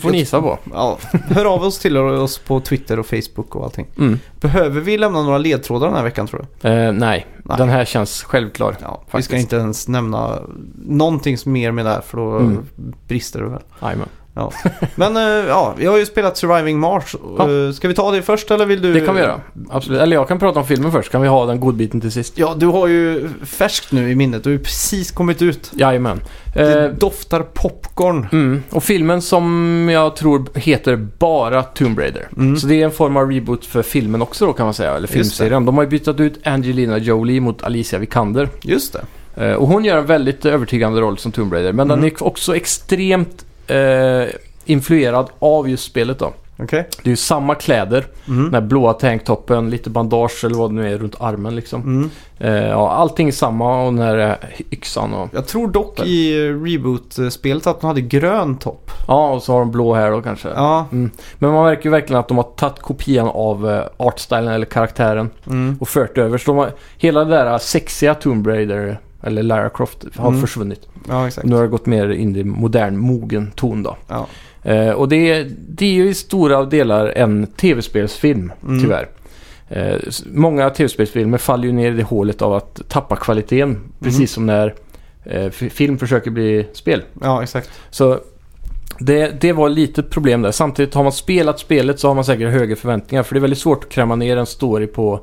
B: Får ni gissa på.
A: Ja, hör av oss till oss på Twitter och Facebook och allting.
B: Mm.
A: Behöver vi lämna några ledtrådar den här veckan tror du?
B: Eh, nej.
A: Nej.
B: den här känns självklar.
A: Ja, vi
B: Faktiskt.
A: ska inte ens nämna någonting som mer med det här för då
B: Mm.
A: brister det väl.
B: Jajamän.
A: Ja. Men eh, ja, jag har ju spelat Surviving Mars.
B: Ja.
A: Eh, Ska vi ta det först eller vill du?
B: Det kan vi göra. Absolut. Eller jag kan prata om filmen först. Kan vi ha den godbiten till sist?
A: Ja, du har ju färskt nu i minnet. Du har ju precis kommit ut.
B: Jajamän.
A: Det
B: Eh,
A: doftar popcorn.
B: mm. Och filmen som jag tror heter bara Tomb Raider.
A: Mm.
B: Så det är en form av reboot för filmen också då kan man säga. Eller
A: Just det.
B: filmserien. De har ju bytt ut Angelina Jolie mot Alicia Vikander.
A: Just det.
B: Eh, och hon gör en väldigt övertygande roll som Tomb Raider. Men den
A: Mm.
B: är också extremt eh, influerad av just spelet då.
A: Okej.
B: Det är ju samma kläder.
A: Mm.
B: Den här blåa tanktoppen, lite bandage eller vad det nu är runt armen liksom.
A: Mm.
B: Eh, ja, allting är samma och den här eh, yxan och...
A: Jag tror dock i eh, reboot-spelet att de hade grön topp.
B: Ja, och så har de blå här då kanske.
A: Ja.
B: Men man märker ju verkligen att de har tagit kopian av eh, artstylen eller karaktären
A: Mm.
B: och fört över. Så de har, hela det där eh, sexiga Tomb Raider, eller Lara Croft, har
A: Mm.
B: försvunnit.
A: Ja, exakt.
B: Nu har det gått mer in i modern, mogen ton då.
A: Ja.
B: Eh, och det är, det är ju i stora delar en tv-spelsfilm,
A: Mm.
B: tyvärr. Eh, s- många tv-spelsfilmer faller ju ner i det hålet av att tappa kvaliteten. Precis
A: Mm.
B: som när eh, f- film försöker bli spel.
A: ja, exakt.
B: Så det, det var lite problem där. Samtidigt har man spelat spelet så har man säkert höga förväntningar. För det är väldigt svårt att kräma ner en story på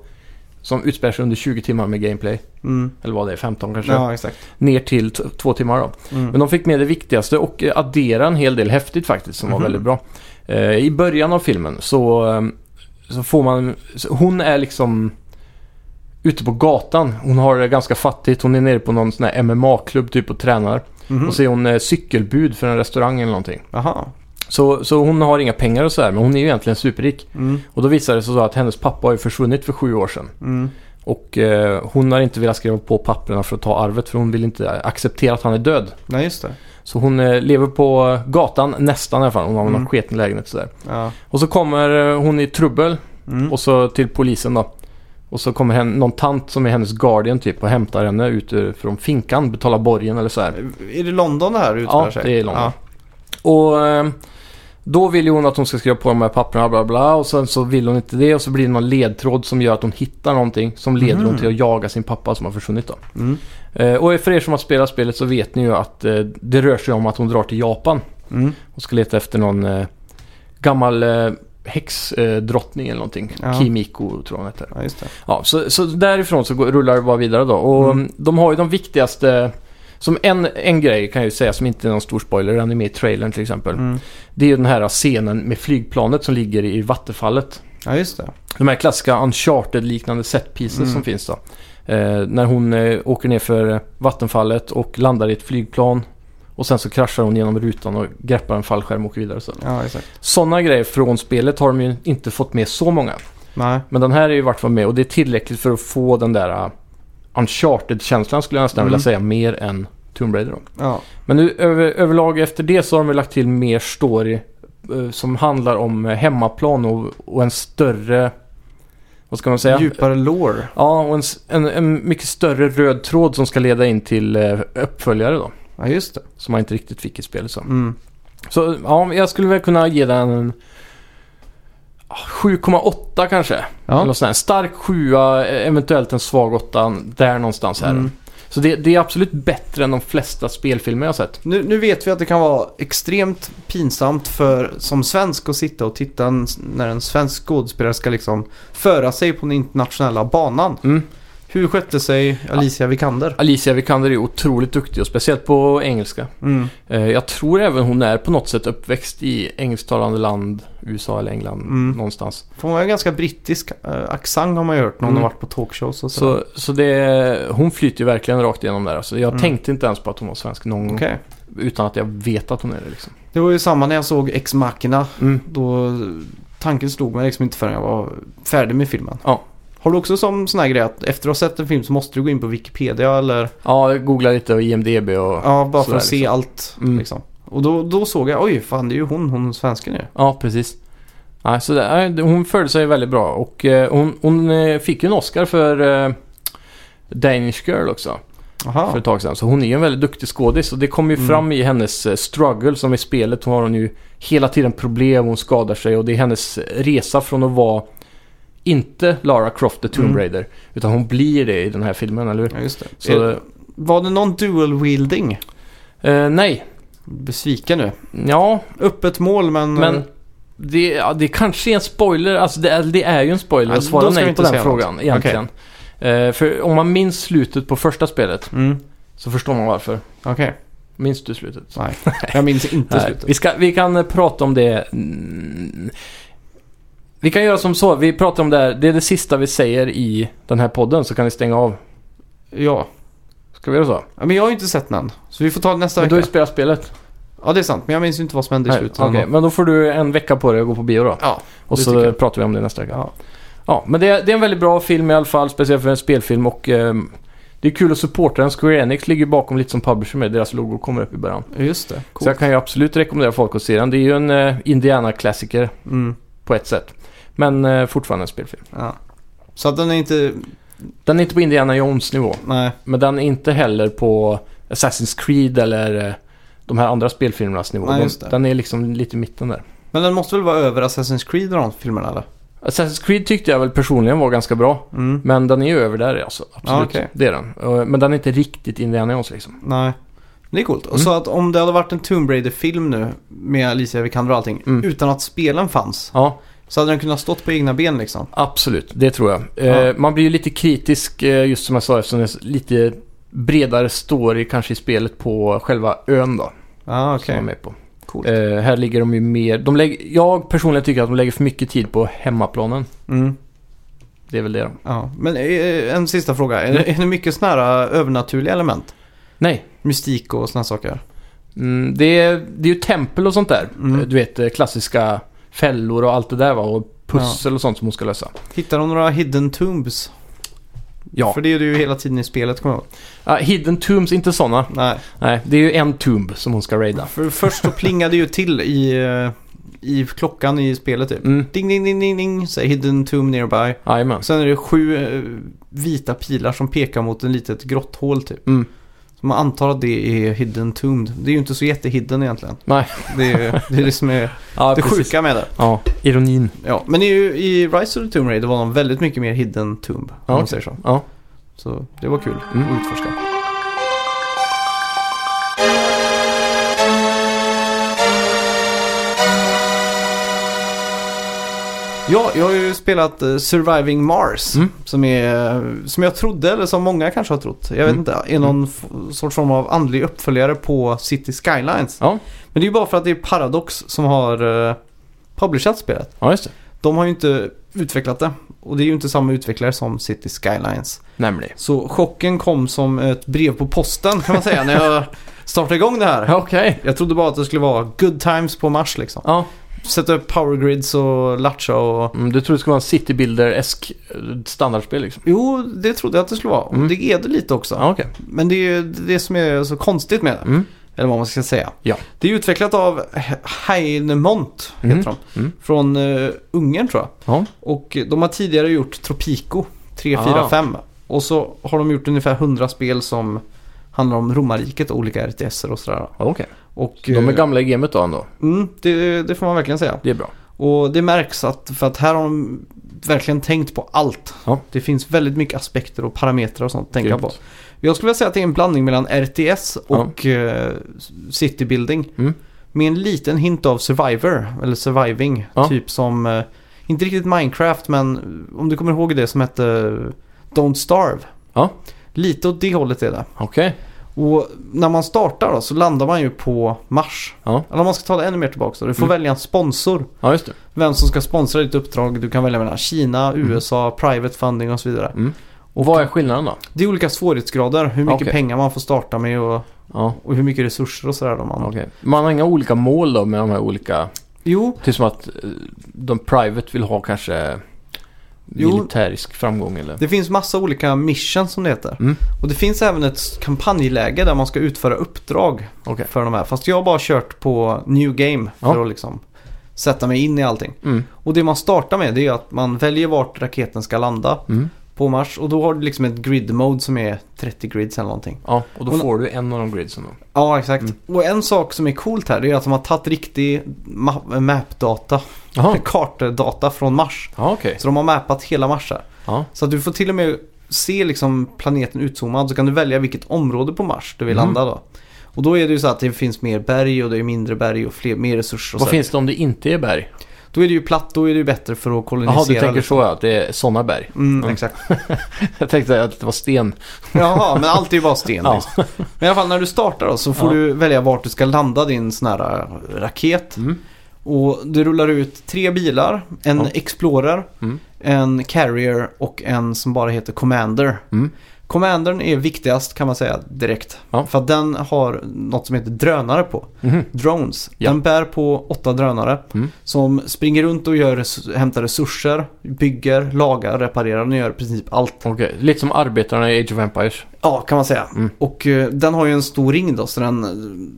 B: som utspelar sig under 20 timmar med gameplay.
A: Mm.
B: Eller vad det är, 15 kanske.
A: Ja, exakt.
B: Ner till t- två timmar då.
A: Mm.
B: Men de fick med det viktigaste och eh, addera en hel del häftigt faktiskt som
A: Mhm.
B: var väldigt bra. Eh, I början av filmen så, eh, så får man... Så hon är liksom ute på gatan. Hon har det ganska fattigt. Hon är nere på någon sån här MMA-klubb typ och tränar.
A: Mhm.
B: Och så är hon eh, cykelbud för en restaurang eller någonting.
A: Jaha.
B: Så, så hon har inga pengar och sådär men hon är ju egentligen superrik.
A: Mm.
B: Och då visar det sig så att hennes pappa har ju försvunnit för sju år sedan.
A: Mm.
B: Och eh, hon har inte velat skriva på papperna för att ta arvet för hon vill inte acceptera att han är död.
A: Nej, just det.
B: Så hon eh, lever på gatan nästan i alla fall. Hon har
A: Mm.
B: någon sketen lägenhet sådär.
A: Ja.
B: Och så kommer eh, hon i trubbel
A: Mm.
B: och så till polisen då. Och så kommer hen, någon tant som är hennes guardian typ och hämtar henne ut ur- från finkan, betalar borgen eller så här.
A: Är det London det här utspelar
B: Ja,
A: sig?
B: det är London. Och eh, då vill ju hon att hon ska skriva på de här papperna bla bla och sen så vill hon inte det och så blir det någon ledtråd som gör att hon hittar någonting som leder
A: Mhm.
B: hon till att jaga sin pappa som har försvunnit då.
A: Mm.
B: Eh, och för er som har spelat spelet så vet ni ju att eh, det rör sig om att hon drar till Japan
A: Mm.
B: och ska leta efter någon eh, gammal eh, häxdrottning eh, drottning eller någonting.
A: Ja.
B: Kimiko tror jag hon heter.
A: Ja, just det.
B: Ja, så, så därifrån så går, rullar det bara vidare då. Och
A: Mm.
B: de har ju de viktigaste... Som en, en grej kan jag ju säga som inte är någon stor spoiler, den är med i trailern till exempel.
A: Mm.
B: Det är ju den här scenen med flygplanet som ligger i vattenfallet.
A: Ja, just det.
B: De här klassiska Uncharted-liknande set pieces
A: Mm.
B: som finns då. Eh, när hon eh, åker ner för vattenfallet och landar i ett flygplan. Och sen så kraschar hon genom rutan och greppar en fallskärm och åker vidare. Så.
A: Ja, exakt.
B: Sådana grejer från spelet har de ju inte fått med så många.
A: Nej.
B: Men den här är ju i vart fall med och det är tillräckligt för att få den där uh, Uncharted-känslan skulle jag nästan
A: Mm.
B: vilja säga mer än Tomb Raider. Då.
A: Ja.
B: Men nu över, överlag efter det så har de ju lagt till mer story eh, som handlar om eh, hemmaplan och, och en större... Vad ska man säga?
A: Djupare lore.
B: Ja, och en, s- en, en mycket större röd tråd som ska leda in till eh, äh, uppföljare då.
A: Ja, just det.
B: Som man inte riktigt fick i spelet sen.
A: Mm.
B: Så ja, jag skulle väl kunna ge den en ah, 7,8 kanske. Eller
A: Ja.
B: något sånt här. En stark 7, eventuellt en svag 8 där någonstans här.
A: Mm.
B: Så det, det är absolut bättre än de flesta spelfilmer jag har sett.
A: Nu, nu vet vi att det kan vara extremt pinsamt för som svensk att sitta och titta en, när en svensk skådespelare ska liksom föra sig på den internationella banan.
B: Mm.
A: Hur skötte sig Alicia Vikander?
B: Alicia Vikander är otroligt duktig och speciellt på engelska.
A: Mm.
B: Eh, Jag tror även hon är på något sätt uppväxt i engelsktalande land, USA eller England
A: Mm.
B: någonstans.
A: För hon har en ganska brittisk eh, accent har man ju hört när hon
B: Mm.
A: har varit på talkshows och sådär.
B: Så, så det, hon flyter ju verkligen rakt igenom där. Alltså, jag
A: Mm.
B: tänkte inte ens på att hon var svensk någon gång.
A: Okej.
B: Utan att jag vet att hon är det liksom.
A: Det var ju samma när jag såg Ex Machina.
B: Mm.
A: Då tanken slog mig liksom inte förrän jag var färdig med filmen.
B: Ja.
A: Har du också som sån här grej att efter att ha sett en film så måste du gå in på Wikipedia eller
B: Ja, jag googlar lite och IMDB och... Ja,
A: ja, bara för
B: sådär
A: att se
B: liksom.
A: allt
B: Mm.
A: liksom. Och då, då såg jag, oj fan det är ju hon, hon svensken ju.
B: precis. Nej, så det, nej, hon förde sig väldigt bra och eh, hon, hon eh, fick ju en Oscar för eh, Danish Girl också för
A: Jaha,
B: ett tag sedan. Så hon är ju en väldigt duktig skådis och det kommer ju
A: Mm.
B: fram i hennes eh, struggle som i spelet. Hon har hon ju hela tiden problem, hon skadar sig och det är hennes resa från att vara inte Lara Croft the Tomb
A: Mm.
B: Raider utan hon blir det i den här filmen, eller hur?
A: ja, just det.
B: Så,
A: Eh, Var det någon dual wielding?
B: eh, nej,
A: Besviken nu.
B: ja,
A: Öppet mål men... eh,
B: Men det, ja, det kanske är en spoiler. Alltså det, är, det är ju en spoiler
A: Ja,
B: att svara
A: då ska vi
B: nej på
A: inte
B: den
A: säga
B: frågan
A: något.
B: egentligen. Eh, för om man minns slutet på första spelet
A: Mm,
B: så förstår man varför.
A: okej.
B: Minns du slutet?
A: Nej, jag minns inte
B: Nej,
A: slutet.
B: vi, ska, vi kan eh, prata om det. mm, Vi kan göra som så. Vi pratar om det här. Det är det sista vi säger i den här podden så kan ni stänga av.
A: Ja.
B: Ska vi göra så?
A: ja, men jag har ju inte sett den än. Så vi får ta det nästa
B: Men
A: vecka.
B: du har ju spelat spelet.
A: Ja, det är sant. Men jag minns ju inte vad som hände i
B: Nej,
A: slutet.
B: okej, men då får du en vecka på dig att gå på bio då.
A: Ja,
B: Och
A: det
B: så
A: tycker jag.
B: pratar vi om det nästa vecka.
A: Ja.
B: Ja, men det är, det är en väldigt bra film i alla fall, speciellt för en spelfilm och ehm, det är kul att supporta den. Square Enix ligger bakom lite som publisher med, deras logo kommer upp i början.
A: just det.
B: Så jag kan ju absolut rekommendera folk att se den. Det är ju en eh, Indiana-klassiker
A: Mm,
B: på ett sätt. Men eh, fortfarande en spelfilm.
A: ja. Så att den är inte...
B: Den är inte på Indiana Jones-nivå,
A: Nej.
B: men den är inte heller på Assassin's Creed eller eh, de här andra spelfilmernas nivå.
A: Nej,
B: De-
A: just det.
B: Den är liksom lite i mitten där.
A: Men den måste väl vara över Assassin's Creed och de filmerna eller?
B: Assassin's Creed tyckte jag väl personligen var ganska bra.
A: Mm.
B: Men den är ju över där alltså. Absolut.
A: Ja, okej.
B: Det är den. Eh, Men den är inte riktigt Indiana Jones liksom.
A: Nej. Det är coolt. Och Så
B: Mm.
A: att om det hade varit en Tomb Raider-film nu med Alicia Vikander och allting
B: Mm.
A: utan att spelen fanns
B: Ja,
A: så hade den kunnat stått på egna ben liksom.
B: absolut. Det tror jag. Eh,
A: Ja.
B: Man blir ju lite kritisk, eh, just som jag sa, eftersom det är lite bredare story kanske i spelet på själva ön då.
A: Ja,
B: Som
A: okej.
B: jag är med på.
A: Coolt.
B: Eh, här ligger de ju mer... De lägger, jag personligen tycker att de lägger för mycket tid på hemmaplanen.
A: Mm.
B: Det är väl det då.
A: Ja. Men eh, en sista fråga. Är,
B: Mm.
A: det- är det mycket sådana här eh, övernaturliga element?
B: Nej.
A: Mystik och sådana saker?
B: Mm, det, är, det är ju tempel och sånt där.
A: Mm.
B: Eh, Du vet, eh, klassiska fällor och allt det där va. Och pussel och sånt som hon ska lösa.
A: Hittar de några hidden tombs?
B: Ja.
A: För det är du ju hela tiden i spelet kommer jag ihåg.
B: Ah, hidden tombs, inte sådana.
A: Nej.
B: Nej, det är ju en tomb som hon ska raida.
A: För först så plingade ju till i, eh, i klockan i spelet typ.
B: Mm.
A: Ding, ding, ding, ding, ding, säger hidden tomb nearby.
B: Jajamän.
A: Sen är det sju eh, vita pilar som pekar mot en litet grotthål typ.
B: Mm.
A: Så man antar att det är hidden tomb. Det är ju inte så jättehidden egentligen.
B: Nej.
A: Det är det, är det som är
B: Ja,
A: det
B: precis.
A: sjuka med det.
B: Ja, ironin.
A: Ja, men i, i Rise of the Tomb Raider var de väldigt mycket mer hidden tomb. Om
B: Ja,
A: man
B: okej.
A: säger så.
B: Ja.
A: Så det var kul
B: Mm.
A: att utforska. Ja, jag har ju spelat eh, Surviving Mars.
B: Mm.
A: Som, är, eh, som jag trodde, eller som många kanske har trott. Jag vet
B: Mm.
A: inte, är någon f- sorts form av andlig uppföljare på City Skylines.
B: Ja.
A: Men det är ju bara för att det är Paradox som har eh, publishat spelet.
B: ja, just det.
A: De har ju inte utvecklat det. Och det är ju inte samma utvecklare som City Skylines.
B: Nämligen.
A: Så chocken kom som ett brev på posten kan man säga när jag startade igång det här.
B: Okej.
A: Jag trodde bara att det skulle vara good times på Mars liksom.
B: Ja,
A: Sätta upp power grids och latcha och...
B: mm, du tror det skulle vara en citybuilder-esk eh, standardspel liksom?
A: Jo, det trodde jag att det skulle vara. Och
B: Mm.
A: det är det lite också.
B: Ja, okej.
A: Men det är ju det som är så konstigt med det.
B: Mm.
A: Eller vad man ska säga.
B: Ja.
A: Det är utvecklat av He- Heinemont, heter
B: Mm.
A: de.
B: Mm.
A: Från eh, Ungern tror jag.
B: Ja.
A: Och de har tidigare gjort Tropico 3,
B: Ah.
A: 4, 5. Och så har de gjort ungefär 100 spel som handlar om romarriket och olika RTSer och sådär.
B: Okej.
A: Och,
B: De är
A: eh,
B: gamla i gamet då ändå.
A: Mm, det, det får man verkligen säga.
B: Det är bra.
A: Och det märks att, för att här har de verkligen tänkt på allt.
B: Ja.
A: Det finns väldigt mycket aspekter och parametrar och sånt att tänka
B: Grymt.
A: på. Jag skulle vilja säga att det är en blandning mellan RTS och eh, city building.
B: Mm.
A: Med en liten hint av survivor, eller surviving.
B: Ja.
A: Typ som, eh, inte riktigt Minecraft men eh, om du kommer ihåg det som hette eh, Don't Starve.
B: Ja.
A: Lite åt det hållet är det.
B: Okej.
A: Och när man startar då så landar man ju på Mars.
B: Ja.
A: Eller om man ska ta det ännu mer tillbaka så. Du får
B: Mm.
A: välja en sponsor.
B: Ja, just det.
A: Vem som ska sponsra ditt uppdrag. Du kan välja mellan Kina,
B: Mhm.
A: USA, private funding och så vidare.
B: Mm. Och vad är skillnaden då?
A: Det är olika svårighetsgrader. Hur mycket
B: Okej.
A: pengar man får starta med och,
B: Ja,
A: och hur mycket resurser och sådär. då Man...
B: Mm. okej. Man har inga olika mål då med de här olika...
A: Jo,
B: Typ som att eh, de private vill ha kanske
A: Jo.
B: militärisk framgång eller...
A: det finns massa olika mission som det heter.
B: Mm.
A: Och det finns även ett kampanjläge där man ska utföra uppdrag
B: Okej.
A: för de här. Fast jag har bara kört på new game för
B: Ja.
A: att liksom sätta mig in i allting.
B: Mm.
A: Och det man startar med det är att man väljer vart raketen ska landa
B: Mm.
A: på Mars. Och då har du liksom ett grid mode som är 30 grids eller någonting.
B: Ja, och då
A: Och-
B: får du en av de gridsen då.
A: Ja, exakt.
B: Mm.
A: Och en sak som är coolt här det är att de har tagit riktig ma- mapdata,
B: Jaha.
A: kartdata från Mars.
B: Ja, okej.
A: Så de har mappat hela Mars här.
B: Ja.
A: Så att du får till och med se liksom planeten utzoomad så kan du välja vilket område på Mars du vill
B: Mm.
A: landa då. Och då är det ju så att det finns mer berg och det är mindre berg och fler, mer resurser. Och
B: Vad
A: så här.
B: finns det om det inte är berg?
A: Då är det ju platt, då är det ju bättre för att kolonisera.
B: Jaha, du tänker
A: liksom.
B: så ja, att det är sådana berg.
A: Mm,
B: Mm.
A: exakt.
B: Jag tänkte att det var sten.
A: Jaha, men allt är ju bara sten.
B: Ja.
A: liksom. Men i alla fall när du startar då, så får
B: Ja.
A: du välja vart du ska landa din sån här äh, raket.
B: Mm.
A: Och det rullar ut tre bilar. En
B: Ja.
A: Explorer,
B: Mm.
A: en Carrier och en som bara heter Commander.
B: Mm.
A: Commandern är viktigast kan man säga direkt.
B: Ja.
A: För att den har något som heter drönare på.
B: Mhm.
A: Drones.
B: Ja.
A: Den bär på åtta drönare
B: Mm.
A: som springer runt och gör, res- hämtar resurser, bygger, lagar, reparerar. Den gör i princip allt.
B: Okej, lite som arbetarna i Age of Empires.
A: Ja, kan man säga.
B: Mm.
A: Och eh, den har ju en stor ring då, så den, eh,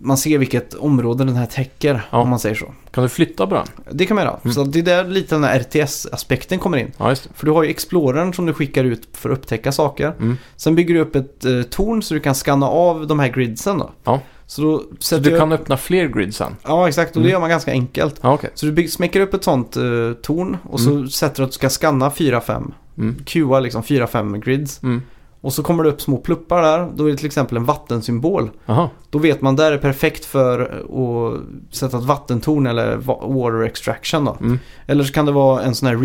A: man ser vilket område den här täcker,
B: Ja.
A: om man säger så.
B: Kan du flytta på den?
A: Det kan man göra.
B: Mm.
A: Så det är där lite den här RTS-aspekten kommer in.
B: Ja, just det.
A: För du har ju Explorern som du skickar ut för att upptäcka saker.
B: Mm.
A: Sen bygger du upp ett eh, torn så du kan scanna av de här gridsen då.
B: Ja.
A: Så då
B: Så
A: sätter
B: du
A: jag-
B: kan öppna fler grid sen?
A: Ja, exakt. Och det
B: Mm.
A: gör man ganska enkelt.
B: Ja, okej.
A: Så du bygg, smäcker upp ett sånt eh, torn och så sätter du att du ska scanna 4-5.
B: Mm.
A: QA liksom 4-5 grids.
B: Mm.
A: Och så kommer det upp små pluppar där. Då är det till exempel en vattensymbol.
B: Aha.
A: Då vet man där är perfekt för att sätta ett vattentorn eller va- water extraction då.
B: Mm.
A: Eller så kan det vara en sån här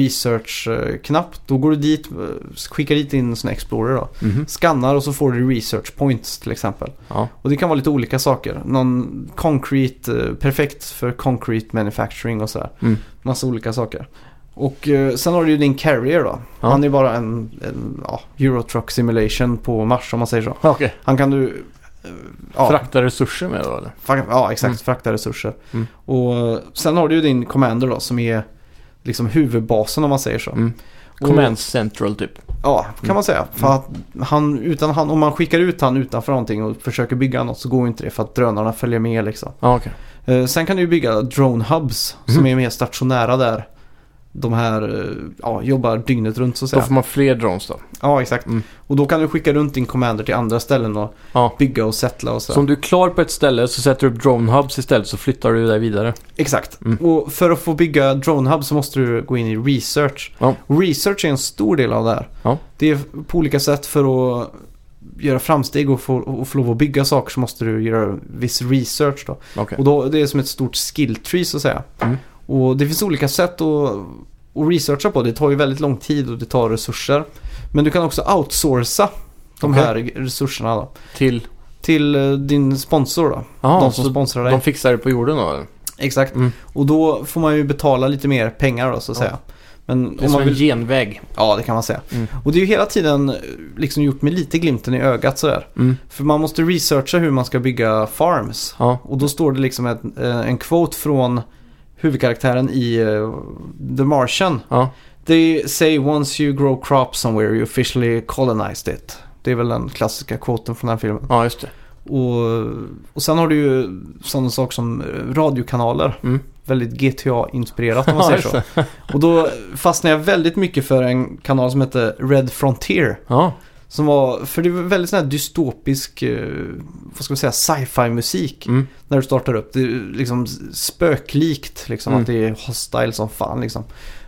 A: research-knapp. Då går du dit, eh, skickar dit din sån här explorer då.
B: Mhm.
A: Skannar och så får du research points till exempel.
B: Ja.
A: Och det kan vara lite olika saker. Någon concrete, eh, perfekt för concrete manufacturing och sådär.
B: Mm.
A: Massa olika saker. Och eh, sen har du ju din carrier då.
B: Ja.
A: Han är bara en, en ja, Eurotruck simulation på Mars om man säger så.
B: Ja, Okej.
A: Han kan du... eh,
B: Frakta resurser med då eller?
A: Frak- Ja, exakt.
B: Mm.
A: Frakta resurser.
B: Mm.
A: Och eh, sen har du ju din commander då som är liksom huvudbasen om man säger så.
B: Mm.
A: Och-
B: Command central typ.
A: Ja, kan man säga. För att han, utan han, om man skickar ut han utanför någonting och försöker bygga något så går ju inte det för att drönarna följer med liksom.
B: Ja, okej.
A: Eh, sen kan du ju bygga drone hubs
B: Mm.
A: som är mer stationära där. De här eh, ja, jobbar dygnet runt så att
B: Då
A: säga.
B: får man fler drones då.
A: Ja, exakt.
B: Mm.
A: Och då kan du skicka runt din commander till andra ställen och
B: Ja.
A: bygga och settla och så.
B: Så om du är klar på ett ställe så sätter du upp drone hubs istället så flyttar du dig vidare.
A: Exakt.
B: Mm.
A: Och för att få bygga DroneHub så måste du gå in i research.
B: Ja.
A: Research är en stor del av det här.
B: Ja.
A: Det är på olika sätt för att göra framsteg och få, och få lov att bygga saker så måste du göra viss research då.
B: Okej.
A: Och då, det är som ett stort skill tree så att säga.
B: Mm.
A: Och det finns olika sätt att, att researcha på. Det tar ju väldigt lång tid och det tar resurser. Men du kan också outsourca de
B: Okej.
A: här resurserna då,
B: Till...
A: till eh, din sponsor då.
B: Jaha,
A: de som
B: Ah, så
A: sponsrar dig.
B: de fixar det på jorden då eller?
A: Exakt.
B: Mm.
A: Och då får man ju betala lite mer pengar då så att
B: Ja.
A: säga. Men
B: Det är
A: om
B: som
A: man
B: en
A: vill...
B: genväg.
A: Ja, det kan man säga.
B: Mm.
A: Och det är ju hela tiden eh, liksom gjort med lite glimten i ögat sådär.
B: Mm.
A: För man måste researcha hur man ska bygga farms.
B: Ja.
A: Och då står det liksom ett, eh, en quote från huvudkaraktären i eh, The Martian.
B: Ja.
A: They say once you grow crops somewhere you officially colonized it. Det är väl den klassiska quoten från den här filmen.
B: Ja, just det.
A: Och, och sen har du ju sådana saker som eh, radiokanaler.
B: Mm.
A: Väldigt GTA-inspirerat om man
B: Ja,
A: säger
B: just
A: så. Och då fastnade jag väldigt mycket för en kanal som heter Red Frontier.
B: Ja.
A: Som var, för det var väldigt sån här dystopisk, eh, vad ska man säga, sci-fi musik.
B: Mm.
A: När du startar upp, det är liksom spöklikt liksom
B: Mm.
A: att det är hostile som fan liksom.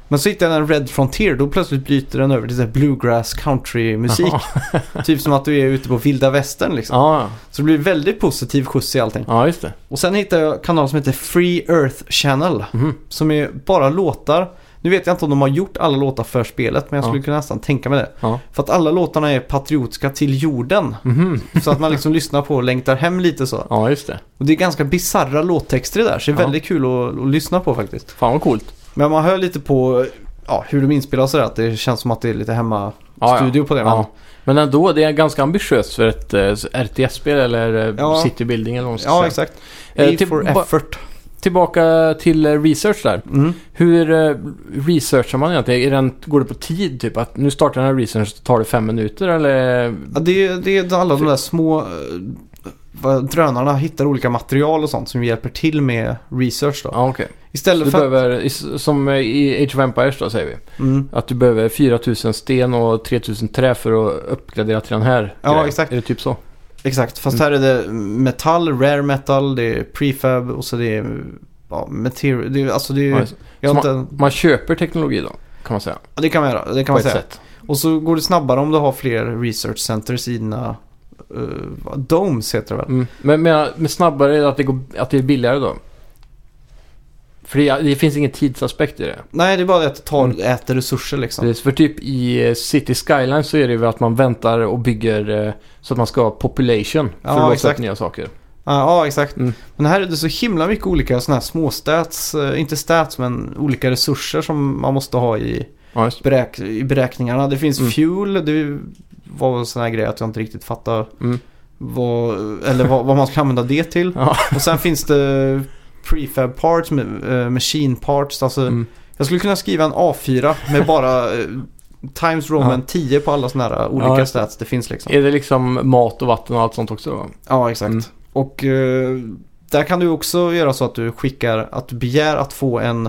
A: Men så hittar jag en Red Frontier, då plötsligt byter den över till så här bluegrass country musik.
B: Jaha.
A: Typ som att du är ute på vilda västern liksom.
B: Ja,
A: Så det blir väldigt positiv skjuts i allting.
B: ja, just det.
A: Och sen hittade jag en kanal som heter Free Earth Channel.
B: Mhm.
A: Som är bara låtar. Nu vet jag inte om de har gjort alla låtar för spelet men jag
B: Ja.
A: skulle kunna nästan tänka mig det.
B: Ja.
A: För att alla låtarna är patriotiska till jorden.
B: Mhm.
A: Så att man liksom lyssnar på och längtar hem lite så.
B: Ja, just det.
A: Och det är ganska bizarra låttexter där så det är
B: Ja.
A: väldigt kul att, att lyssna på faktiskt.
B: Fan vad coolt.
A: Men man hör lite på ja, hur de inspelar och sådär att det känns som att det är lite hemma
B: Ja,
A: studio på det. Men,
B: Ja. Men ändå, det är ganska ambitiöst för ett eh, RTS-spel eller eh,
A: Ja.
B: citybuilding eller vad man ska
A: ja
B: säga.
A: exakt.
B: Eh,
A: A
B: till-
A: for
B: ba-
A: effort.
B: Tillbaka till eh, research där.
A: Mm.
B: Hur eh, researchar man egentligen? Är den, går det på tid? Typ att nu startar den här researchen så tar det fem minuter eller?
A: Ja, det, är- det är alla de där små eh, vad- drönarna hittar olika material och sånt som hjälper till med research då.
B: Ja, okej. Så
A: Istället
B: Du
A: för att,
B: behöver, i- som eh, i Age of Empires då säger vi.
A: mm,
B: Att du behöver 4000 sten och 3000 trä för att uppgradera till den här
A: Ja,
B: grejen.
A: exakt.
B: Är det typ så?
A: Exakt,
B: Mm.
A: fast här är det metall, rare metal, det är prefab och så det är ja, material. Det, är- alltså det, är-
B: Ja, just-
A: jag har
B: Så
A: inte,
B: Man köper teknologi då, kan man säga.
A: ja, det kan man göra, det kan
B: på
A: man
B: ett
A: säga.
B: sätt.
A: Och så går det snabbare om du har fler research centers i dina eh, domes heter det väl?
B: Mm. Men, men, men snabbare är det att det, går, att det är billigare då? För det, det finns ingen tidsaspekt i det.
A: Nej, det är bara det att det tar,
B: Mm.
A: äter resurser liksom.
B: Precis, för typ i eh, City Skyline så är det ju att man väntar och bygger eh, så att man ska ha population för
A: Ja,
B: att låsa
A: exakt.
B: upp nya saker.
A: Ja, ja exakt.
B: Mm.
A: Men här är det så himla mycket olika sådana här små stats, eh, inte stats men olika resurser som man måste ha i,
B: Ja, just.
A: beräk i beräkningarna. Det finns
B: Mm.
A: fuel, det var en sån här grej att jag inte riktigt fattar
B: Mm.
A: vad, eller vad, vad man ska använda det till.
B: Ja.
A: Och sen finns det prefab parts, ma- eh, machine parts. Alltså,
B: Mm.
A: Jag skulle kunna skriva en A4 med bara eh, Times Roman 10 på alla sådana här olika
B: Ja, just
A: stats det finns liksom.
B: Är det liksom mat och vatten och allt sånt också då?
A: Ja, exakt.
B: Mm.
A: Och eh, där kan du också göra så att du skickar, att du begär att få en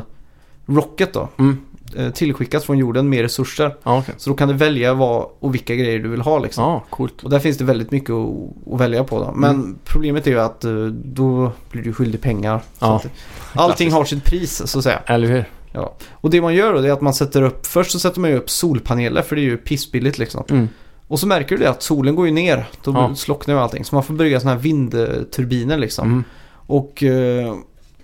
A: rocket då.
B: Mm.
A: eh, Tillskickat från jorden med resurser.
B: Ja, okej.
A: Så då kan du välja vad och vilka grejer du vill ha liksom.
B: Ja, coolt.
A: Och där finns det väldigt mycket att, att välja på då. Men
B: Mm.
A: problemet är ju att eh, då blir du skyldig pengar. Så
B: Ja.
A: att allting har sitt pris så att säga.
B: Eller hur?
A: Och det man gör då det är att man sätter upp, först så sätter man ju upp solpaneler för det är ju pissbilligt liksom.
B: Mm.
A: Och så märker du det att solen går ju ner, då
B: Ja.
A: slocknar ju allting. Så man får bygga sådana här vindturbiner liksom.
B: Mm.
A: Och eh,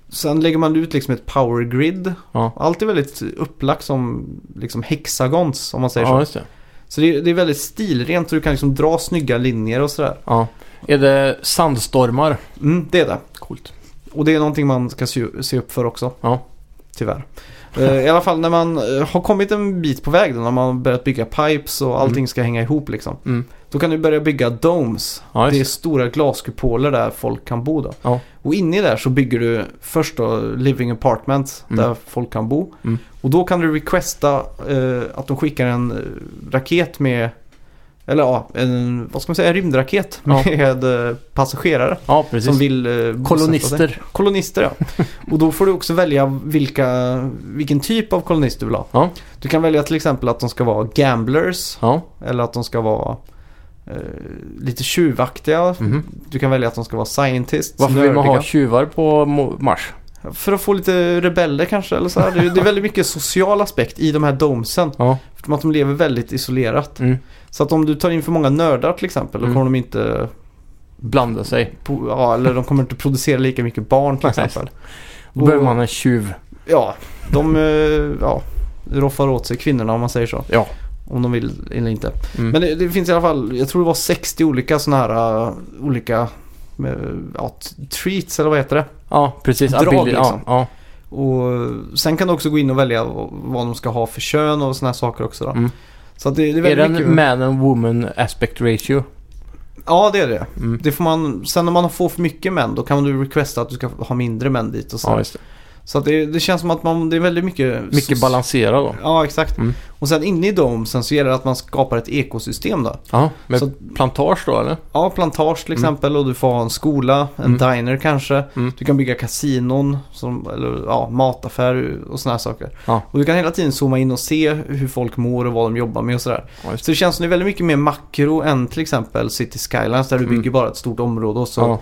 A: sen lägger man ut liksom ett power grid.
B: Ja.
A: Allt är väldigt upplagt som liksom hexagons om man säger
B: Ja,
A: så.
B: just det.
A: Så det är, det är väldigt stilrent och du kan liksom dra snygga linjer och sådär.
B: Ja. Är det sandstormar?
A: Mm, det är det.
B: Coolt.
A: Och det är någonting man ska se, se upp för också.
B: Ja.
A: Tyvärr. Eh, I alla fall när man eh, har kommit en bit på väg då, när man har börjat bygga pipes och allting ska hänga ihop liksom.
B: Mm.
A: Då kan du börja bygga domes.
B: Ja, just
A: det är
B: det.
A: stora glaskupoler där folk kan bo då.
B: Ja.
A: Och inne i där så bygger du först då living apartments
B: Mm.
A: där folk kan bo.
B: Mm.
A: Och då kan du requesta eh, att de skickar en eh, raket med, eller ja, en, vad ska man säga, en rymdraket
B: Ja.
A: med eh, passagerare.
B: Ja, precis.
A: Som vill... eh, bosätta sig.
B: Kolonister.
A: Kolonister ja. Och då får du också välja vilka, vilken typ av kolonist du vill ha.
B: Ja.
A: Du kan välja till exempel att de ska vara gamblers
B: Ja.
A: eller att de ska vara eh, lite tjuvaktiga.
B: Mhm.
A: Du kan välja att de ska vara scientists.
B: Varför vill man ha
A: nördiga.
B: tjuvar på Mo- Mars?
A: För att få lite rebeller kanske eller så här. Det, är- det är väldigt mycket social aspekt i de här domsen.
B: Ja.
A: Eftersom att de lever väldigt isolerat.
B: Mm.
A: Så att om du tar in för många nördar till exempel då
B: Mm.
A: kommer de inte...
B: Blanda sig.
A: po- Ja, eller de kommer inte producera lika mycket barn till
B: Nej.
A: exempel.
B: Då behöver man en tjuv.
A: Ja, de eh, ja, roffar åt sig kvinnorna om man säger så.
B: Ja.
A: Om de vill eller inte.
B: Mm.
A: Men det, det finns i alla fall, jag tror det var 60 olika sådana här eh, olika eh, ja, t- treats eller vad heter det?
B: Ja, precis.
A: Drag,
B: Ability-
A: liksom.
B: Ja,
A: Och eh, sen kan du också gå in och välja v- vad de ska ha för kön och sådana här saker också då.
B: Mm.
A: Så att det, det är
B: ja. Är
A: väldigt
B: det en
A: mycket.
B: man and woman aspect ratio?
A: Ja, det är det.
B: Mm.
A: Det får man, sen när man får för mycket män då kan du requesta att du ska ha mindre män dit och så.
B: Ja, just det.
A: Så att det, det känns som att man, det är väldigt mycket...
B: Mycket balansera då.
A: Ja, exakt.
B: Mm.
A: Och sen inne i domsen så gäller det att man skapar ett ekosystem då.
B: Ja, med
A: Så-
B: plantage då eller?
A: Ja, plantage till
B: Mm.
A: exempel och du får ha en skola, en
B: Mm.
A: diner kanske.
B: Mm.
A: Du kan bygga kasinon, som, eller ja, mataffär och sådana här saker.
B: Ja.
A: Och du kan hela tiden zooma in och se hur folk mår och vad de jobbar med och sådär.
B: Ja, just
A: Så det känns som det är väldigt mycket mer makro än till exempel City Skylines där du
B: Mm.
A: bygger bara ett stort område och så
B: Ja,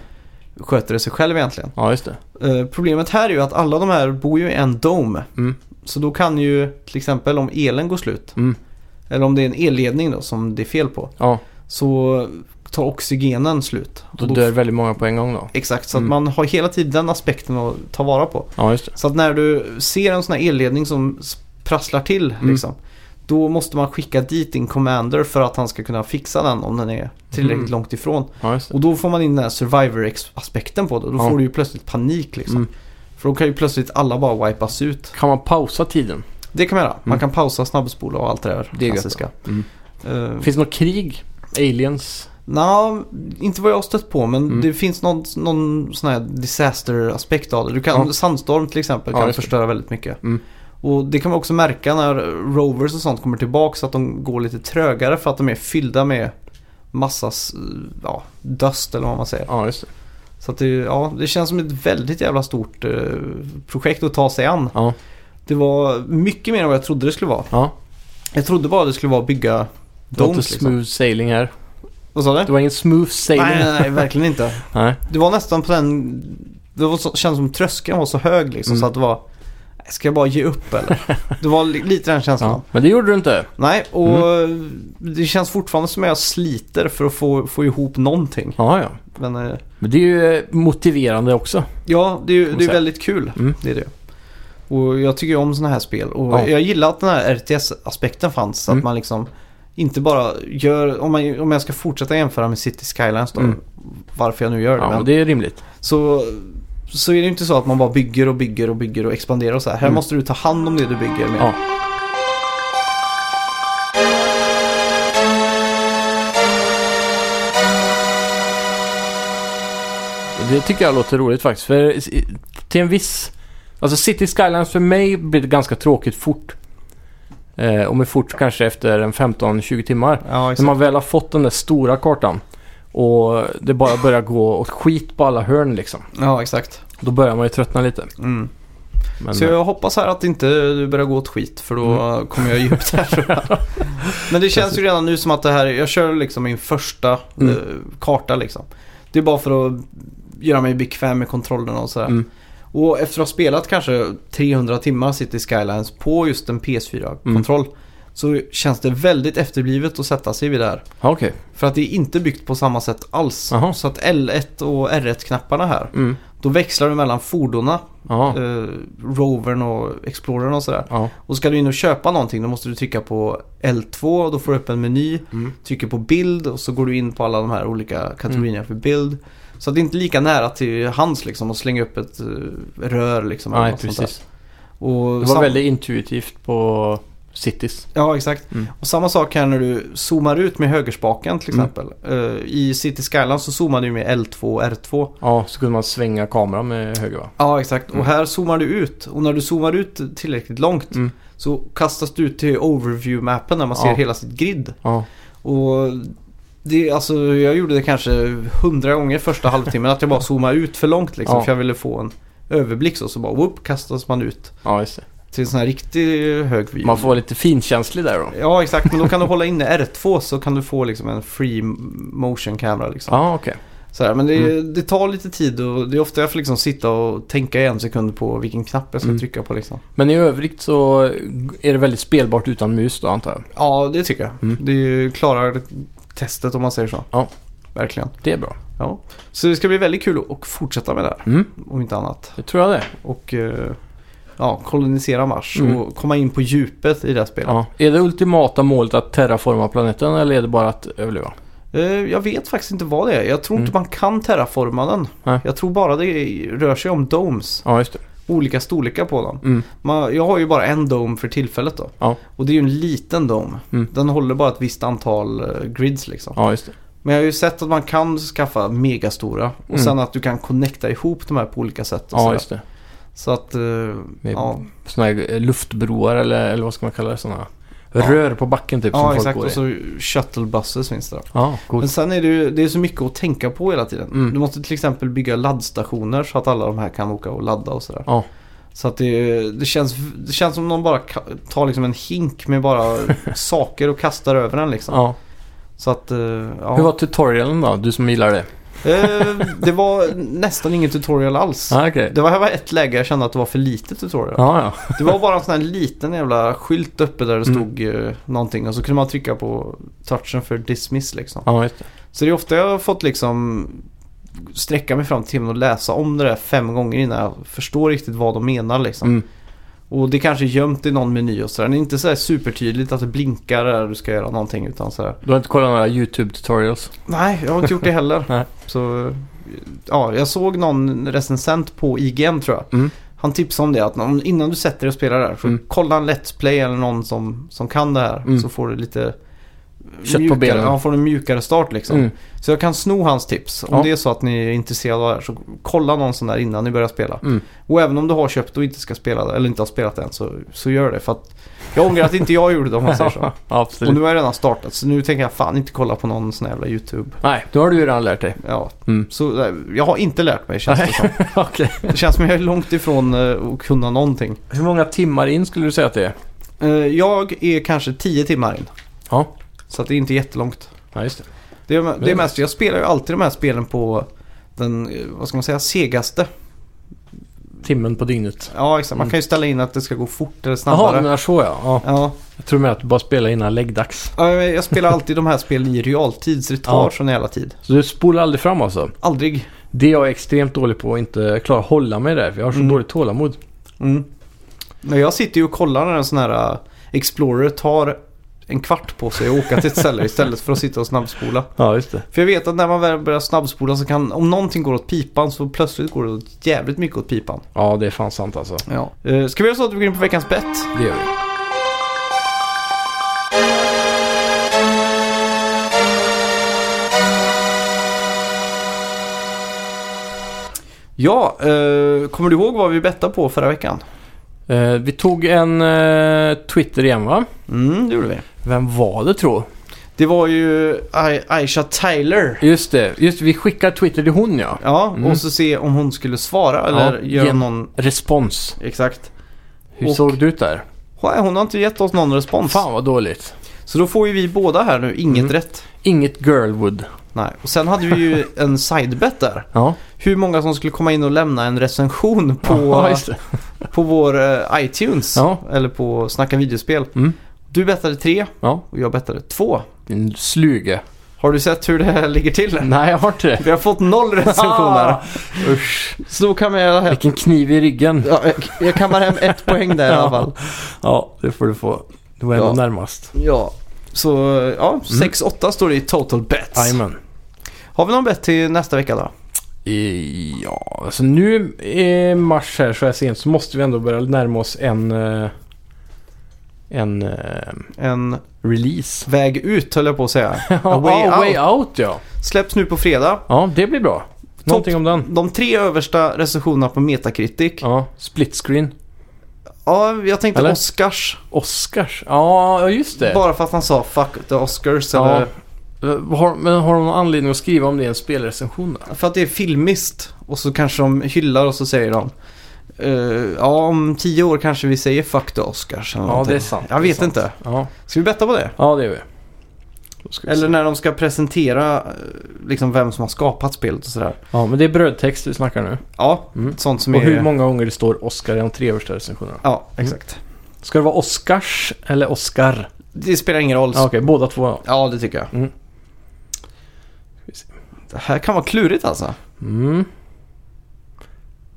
A: sköter det sig själv egentligen.
B: ja just det.
A: Eh, problemet här är ju att alla de här bor ju i en dome.
B: Mm.
A: Så då kan ju till exempel om elen går slut,
B: Mm.
A: eller om det är en elledning då som det är fel på,
B: Ja,
A: så tar oxygenen slut.
B: då
A: Och då-
B: dör väldigt många på en gång då.
A: Exakt, så
B: Mm.
A: att man har hela tiden den aspekten att ta vara på.
B: Ja, just det.
A: Så att när du ser en sån här elledning som s- prasslar till
B: Mm.
A: liksom. Då måste man skicka dit din commander för att han ska kunna fixa den om den är tillräckligt
B: Mm.
A: långt ifrån.
B: Ja, just det.
A: Och då får man in den här survivor-aspekten på det. Då
B: Ja.
A: får du ju plötsligt panik liksom.
B: Mm.
A: För då kan ju plötsligt alla bara wipas ut.
B: Kan man pausa tiden?
A: Det kan man göra. Man
B: Mm.
A: kan pausa, snabbspola och allt det där
B: Det är gött.
A: klassiska.
B: Mm.
A: Uh,
B: Finns det något krig? Aliens?
A: Nja, inte vad jag har stött på men
B: Mm.
A: det finns någon, någon sån här disaster-aspekt av det. Du kan,
B: Ja.
A: Sandstorm till exempel
B: Ja,
A: kan
B: just det.
A: förstöra väldigt mycket.
B: Mm.
A: Och det kan man också märka när rovers och sånt kommer tillbaka så att de går lite trögare för att de är fyllda med massas eh, ja, dust eller vad man säger.
B: Ja, just det.
A: Så att det, ja, det känns som ett väldigt jävla stort eh, projekt att ta sig an.
B: Ja.
A: Det var mycket mer än vad jag trodde det skulle vara.
B: Ja.
A: Jag trodde bara det skulle vara att bygga
B: Det var inte
A: domes liksom.
B: smooth sailing här.
A: Vad sa
B: Det
A: du?
B: var ingen smooth sailing.
A: Nej, nej, nej, verkligen inte.
B: Nej.
A: Det var nästan på den... Det var så, kändes som tröskeln var så hög liksom
B: Mm.
A: så att det var... Ska jag bara ge upp eller? Det var li, lite den känslan.
B: Ja. Mm. Men det gjorde du inte.
A: Nej, och det känns fortfarande som att jag sliter för att få, få ihop någonting.
B: Ja, ja.
A: Men eh,
B: Men det är ju eh, motiverande också.
A: ja, det är, ju-
B: man
A: det är
B: säga.
A: väldigt kul.
B: Mm.
A: Det är det. Och jag tycker ju om sådana här spel. Och
B: Ja.
A: jag gillar att den här RTS-aspekten fanns. Så
B: Mm.
A: att man liksom inte bara gör... Om, man, om jag ska fortsätta jämföra med City Skylines då.
B: Mm.
A: Varför jag nu gör det.
B: Ja,
A: men-
B: och det är rimligt.
A: så, så är det ju inte så att man bara bygger och bygger och bygger och expanderar och så här. Här
B: Mm.
A: måste du ta hand om det du bygger med.
B: Ja. Det tycker jag låter roligt faktiskt. För i- till en viss... Alltså City Skylines för mig blir det ganska tråkigt fort. Eh, och med fort kanske efter en 15-20 timmar.
A: Ja,
B: När
A: exakt.
B: man väl har fått den där stora kartan och det bara börjar gå åt skit på alla hörn liksom.
A: Ja, exakt.
B: Då börjar man ju tröttna lite.
A: Mm.
B: Men, Mm.
A: Så jag hoppas här att inte du börjar gå åt skit för då kommer jag ge upp det här. tror jag. Men det känns ju redan nu som att det här, jag kör liksom min första
B: Mm.
A: eh, karta liksom. Det är bara för att göra mig bekväm med kontrollerna och sådär.
B: Mm.
A: Och efter att ha spelat kanske 300 timmar City Skylines på just en PS4-kontroll
B: Mm.
A: så känns det väldigt efterblivet att sätta sig vid det här.
B: Ja, eh, okej.
A: För att det är inte byggt på samma sätt alls.
B: Aha.
A: Så att L1 och R1-knapparna här,
B: Mm.
A: då växlar du mellan fordonen,
B: Ja.
A: eh, Rovern och Explorern och sådär.
B: Ja.
A: Och ska du in och köpa någonting då måste du trycka på L2 och då får du upp en meny.
B: Mm.
A: Trycker på bild och så går du in på alla de här olika kategorierna
B: Mm.
A: för bild. Så att det är inte lika nära till hands liksom att slänga upp ett eh, rör liksom. eller
B: Nej,
A: något sånt där.
B: precis.
A: Och
B: Det var
A: sam-
B: väldigt intuitivt på Cities.
A: Ja, exakt.
B: Mm.
A: Och samma sak här när du zoomar ut med högerspaken till
B: Mm.
A: exempel. Eh, I City Skyline så zoomar du med L2 och R2.
B: Ja, så kunde man svänga kameran med höger va?
A: Ja, exakt.
B: Mm.
A: Och här zoomar du ut. Och när du zoomar ut tillräckligt långt
B: Mm.
A: så kastas du ut till overview-mappen där man ser
B: Ja.
A: hela sitt grid.
B: Ja.
A: Och det, alltså, jag gjorde det kanske hundra gånger första halvtimmen att jag bara zoomade ut för långt liksom.
B: Ja.
A: För jag ville få en överblick så, så bara whoop, kastas man ut
B: Ja, just det.
A: till en sån här riktig hög vy.
B: Man får vara lite finkänslig där då.
A: Ja, exakt. Men då kan du hålla inne R2 så kan du få liksom en free motion kamera liksom.
B: Ja, Mm. okej.
A: Sådär, men det, det tar lite tid och det är ofta jag får liksom sitta och tänka i en sekund på vilken knapp jag ska
B: Mm.
A: trycka på liksom.
B: Men i övrigt så är det väldigt spelbart utan mus då antar jag.
A: Ja, det tycker jag.
B: Mm.
A: Det är ju- klarar testet om man säger så.
B: Ja.
A: Verkligen.
B: Det är bra.
A: Ja. Så det ska bli väldigt kul att fortsätta med det här,
B: Mm,
A: om inte annat.
B: det tror jag det.
A: Och eh, ja, kolonisera Mars
B: Mm.
A: och komma in på djupet i det här spelet.
B: Ja. Är det ultimata målet att terraforma planeten eller är det bara att överleva?
A: Eh, jag vet faktiskt inte vad det är. Jag tror inte man kan terraforma den.
B: Mm. Nej.
A: Jag tror bara det rör sig om domes.
B: Ja, just det.
A: Olika storlekar på dem.
B: Mm.
A: Man, jag har ju bara en dome för tillfället då.
B: Ja.
A: Och det är ju en liten dome.
B: Mm.
A: Den håller bara ett visst antal eh, grids liksom.
B: Ja, just det.
A: Men jag har ju sett att man kan skaffa megastora. Och
B: Mm.
A: sen att du kan connecta ihop de här på olika sätt. Och
B: Ja,
A: sådär.
B: just det.
A: Så att, eh,
B: Med
A: ja,
B: såna här eh, luftbroar eller, eller vad ska man kalla det? Såna
A: Ja.
B: rör på backen typ som
A: ja
B: folk
A: exakt.
B: går
A: Och
B: i.
A: så shuttlebusses finns det då.
B: Ja, coolt.
A: Men sen är det ju, det är så mycket att tänka på hela tiden.
B: Mm.
A: Du måste till exempel bygga laddstationer så att alla de här kan åka och ladda och sådär.
B: Ja.
A: Så att det, det, känns, det känns som någon bara ka- tar liksom en hink med bara saker och kastar över den liksom.
B: Ja.
A: Så att, eh, ja.
B: Hur var tutorialen då? Du som gillar det.
A: Eh, det var nästan ingen tutorial alls.
B: Ah, okej.
A: Det var, här var ett läge jag kände att det var för lite tutorial.
B: Ja, ja.
A: Det var bara en sån här liten jävla skylt uppe där det
B: Mm.
A: stod eh, någonting och så kunde man trycka på touchen för dismiss liksom.
B: ja just det.
A: Så det är ofta jag har fått liksom sträcka mig fram till timmen och läsa om det där fem gånger innan jag förstår riktigt vad de menar liksom.
B: Mm.
A: Och det kanske är gömt i någon meny och sådär. Det är inte så här supertydligt att det blinkar där du ska göra någonting utan sådär.
B: Du har inte kollat några YouTube-tutorials?
A: Nej, jag har inte gjort det heller.
B: Nej.
A: Så, ja, jag såg någon recensent på IGN tror jag.
B: Mm.
A: Han tipsade om det att om- innan du sätter dig och spelar där så
B: Mm.
A: kolla en Let's Play eller någon som, som kan det här.
B: Mm.
A: Så får du lite
B: Kött på
A: mjukare,
B: benen.
A: ja, får du en mjukare start liksom.
B: Mm.
A: Så jag kan sno hans tips. Om
B: Ja.
A: det är så att ni är intresserade av det här så kolla någon sån där innan ni börjar spela.
B: Mm.
A: Och även om du har köpt och inte ska spela det, eller inte har spelat det än så, så gör det. För att jag ångrar att inte jag gjorde det om man säger så.
B: Ja,
A: Och
B: absolut.
A: nu har jag redan startat så nu tänker jag fan inte kolla på någon sån jävla YouTube.
B: Nej, då har du ju redan lärt dig.
A: Ja,
B: Mm.
A: så eh, jag har inte lärt mig känns det
B: Nej.
A: som.
B: Okej.
A: Det känns som jag är långt ifrån eh, att kunna någonting.
B: Hur många timmar in skulle du säga att det är?
A: Eh, Jag är kanske 10 timmar in.
B: Ja.
A: Så att det är inte jättelångt.
B: Ja, just det.
A: Det är, det
B: Det
A: är
B: är
A: mest, jag spelar ju alltid de här spelen på den, eh, vad ska man säga, segaste.
B: Timmen på dygnet.
A: Ja, exakt. Man
B: Mm.
A: kan ju ställa in att det ska gå fort eller
B: Jaha, du
A: snabbare.
B: menar så ja. ja.
A: Ja,
B: Jag tror med att du bara spelar innan läggdags.
A: Ja, men jag spelar alltid de här spelen i realtid så det tar
B: Ja.
A: sån jävla tid.
B: Så du spolar aldrig fram alltså?
A: Aldrig.
B: Det är jag extremt dålig på att inte klara att hålla mig där. För jag har så
A: Mm.
B: dåligt tålamod.
A: Mm. Men jag sitter ju och kollar när en sån här eh, Explorer tar en kvart på sig att åka till ett ställe istället för att sitta och snabbspola.
B: Ja, just det.
A: För jag vet att när man väl börjar snabbspola så kan, om någonting går åt pipan så plötsligt går det åt jävligt mycket åt pipan.
B: Ja, det är fan sant alltså.
A: Ja. Eh, Ska vi göra så att vi går in på veckans bett?
B: Det gör vi.
A: Ja, eh, kommer du ihåg vad vi bettade på förra veckan?
B: Eh, vi tog en eh, Twitter igen va?
A: Mm, det gjorde vi.
B: Vem var det tror?
A: Det var ju Ai- Aisha Tyler.
B: Just det, just vi skickar Twitter till hon ja.
A: Ja,
B: Mm.
A: och så se om hon skulle svara eller
B: Ja,
A: göra
B: gen-
A: någon...
B: Respons.
A: Exakt.
B: Hur
A: Och-
B: såg det ut där?
A: Nej, hon har inte gett oss någon respons.
B: Fan vad dåligt.
A: Så då får ju vi båda här nu inget
B: Mm.
A: rätt.
B: Inget girlwood.
A: Nej, och sen hade vi ju en sidebet där.
B: Ja,
A: Hur många som skulle komma in och lämna en recension på,
B: ja just det.
A: på vår eh, iTunes.
B: Ja.
A: Eller på Snacka videospel.
B: Mm.
A: Du bettade tre
B: Ja,
A: och jag bettade två.
B: din sluge.
A: Har du sett hur det här ligger till?
B: Nej, jag har inte det.
A: Vi har fått noll recensioner.
B: Usch,
A: Så då kan jag hem.
B: vilken kniv i ryggen.
A: Ja, jag- jag kammar hem ett poäng där i alla fall.
B: Ja, det får du få. Du var ändå
A: Ja.
B: närmast.
A: Ja, så ja, 6-8 står det i total bets.
B: Mm. Jajamän.
A: Har vi någon bett till nästa vecka då?
B: I- Ja, alltså nu i mars här så här sent så måste vi ändå börja närma oss en... eh, En... eh,
A: En
B: Release.
A: väg ut höll jag på att säga.
B: Ja,
A: way
B: way,
A: out.
B: way out ja.
A: Släpps nu på fredag.
B: Ja, det blir bra. Någonting om den.
A: De tre översta recensionerna på Metacritic. Ja,
B: Ja, split screen.
A: jag tänkte
B: Eller?
A: Oscars.
B: Oscars. Ja, ja, just det.
A: Bara för att han sa fuck the Oscars.
B: Ja.
A: Eller,
B: Eh, Har, men har de någon anledning att skriva om det i en spelrecension då?
A: för att det är filmiskt. Och så kanske de hyllar och så säger de. eh, ja, om tio år kanske vi säger fuck the Oscars. Eller
B: Ja,
A: någonting.
B: det är sant.
A: Jag
B: Det är
A: vet
B: sant.
A: inte.
B: Ja,
A: Ska vi betta på det?
B: ja det gör vi. Då ska vi
A: Eller
B: se.
A: när de ska presentera eh, liksom vem som har skapat spelet och sådär.
B: Ja, men det är brödtext vi snackar nu.
A: Ja,
B: Mm.
A: sånt som
B: Och
A: är...
B: hur många gånger det står Oscar i de tre första recensionerna.
A: Ja, exakt.
B: Ska det vara Oscars eller Oscar?
A: Det spelar ingen roll.
B: Ja, Okej, båda två. ja.
A: Ja, det tycker jag.
B: Mm.
A: Det här kan vara klurigt alltså.
B: Mm.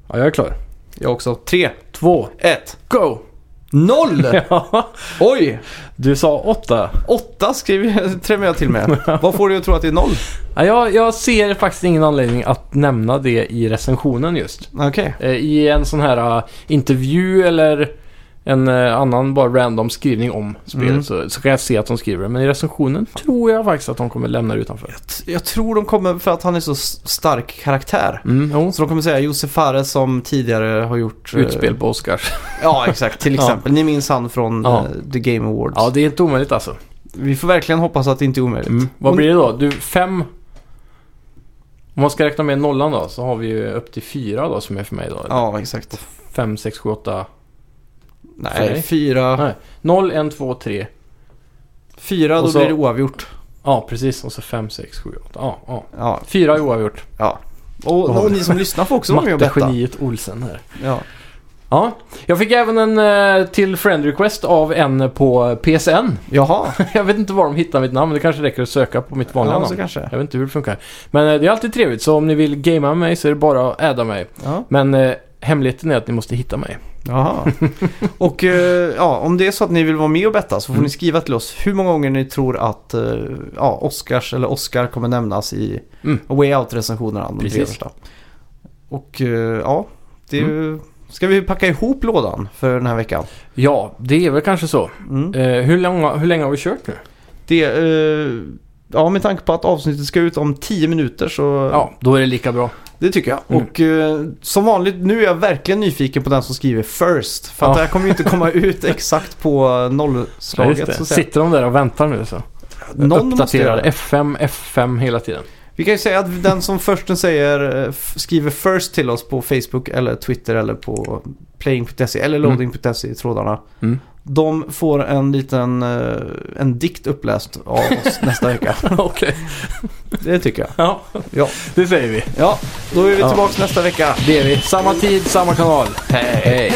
B: Ja, jag är klar.
A: Jag också. Tre,
B: Två,
A: ett,
B: go!
A: noll!
B: Ja,
A: Oj!
B: du sa åtta.
A: Åtta skriver trämmar jag till med. Vad får du att tro att det är noll?
B: Ja, jag, jag ser faktiskt ingen anledning att nämna det i recensionen just.
A: Okej.
B: Eh, I en sån här eh, ah, intervju eller en eh, annan bara random skrivning om spelet
A: Mm.
B: så, så kan jag se att de skriver det. Men i recensionen tror jag faktiskt att de kommer lämna det utanför.
A: Jag tror de kommer för att han är så s- stark karaktär.
B: Mm, jo.
A: Så de kommer säga Josef Fares som tidigare har gjort... eh,
B: Utspel på Oscars.
A: Ja, exakt. Till
B: Ja.
A: exempel. Ni minns han från
B: Ja.
A: eh, The Game Awards.
B: Ja, det är inte omöjligt alltså.
A: Vi får verkligen hoppas att det inte är omöjligt.
B: Mm.
A: Mm.
B: Vad
A: Och-
B: blir det då? Du, fem... Om man ska räkna med nollan då, så har vi ju upp till fyra då som är för mig då.
A: Ja, exakt.
B: Fem, sex, sju, åtta. För
A: Nej,
B: dig?
A: fyra.
B: Nej. Noll, en, två, tre.
A: Fyra,
B: Och
A: då
B: så-
A: blir det oavgjort.
B: Ja, precis. Och så fem, sex, sju, åtta. Ja, ja.
A: Ja,
B: Fyra är oavgjort.
A: ja. Och, och ni som lyssnar får också vara med och betta.
B: Mattegeniet Olsen här.
A: Ja.
B: Ja. Jag fick även en eh, till friend request av en på PSN.
A: Jaha,
B: jag vet inte var de hittar mitt namn. Det kanske räcker att söka på mitt vanliga
A: ja, så
B: namn.
A: kanske.
B: Jag vet inte hur det funkar. Men eh, det är alltid trevligt. Så om ni vill gamea med mig så är det bara att adda mig.
A: Ja.
B: Men eh, hemligheten är att ni måste hitta mig.
A: Jaha. Och eh, ja, om det är så att ni vill vara med och betta så får
B: Mm.
A: ni skriva till oss hur många gånger ni tror att eh, ja, Oscars eller Oscar kommer nämnas i
B: Mm.
A: Way Out-recensionerna. de tre
B: Precis.
A: första. Och eh, ja, det är
B: Mm.
A: ju... Ska vi packa ihop lådan för den här veckan?
B: Ja, det är väl kanske så.
A: Mm.
B: Eh, hur, långa, hur länge har vi kört nu?
A: Det, eh, ja, med tanke på att avsnittet ska ut om 10 minuter så
B: Ja, då är det lika bra.
A: det tycker jag.
B: Mm.
A: Och eh, som vanligt, nu är jag verkligen nyfiken på den som skriver first. För att
B: Ja.
A: det här kommer ju inte komma ut exakt på nollslaget. så att säga.
B: Sitter de där och väntar nu så?
A: Någon måste
B: Uppdaterar
A: göra det.
B: F5, F5 hela tiden.
A: Vi kan ju säga att den som först säger, eh, f- skriver first till oss på Facebook eller Twitter eller på playing.se eller
B: Mm.
A: loading.se i trådarna.
B: Mm.
A: De får en liten eh, en dikt uppläst av oss nästa vecka.
B: Okej,
A: Det tycker jag.
B: ja.
A: Ja.
B: det säger vi.
A: Ja, då är vi
B: Ja.
A: tillbaka nästa vecka.
B: Det är vi. Samma tid, samma kanal. Hej!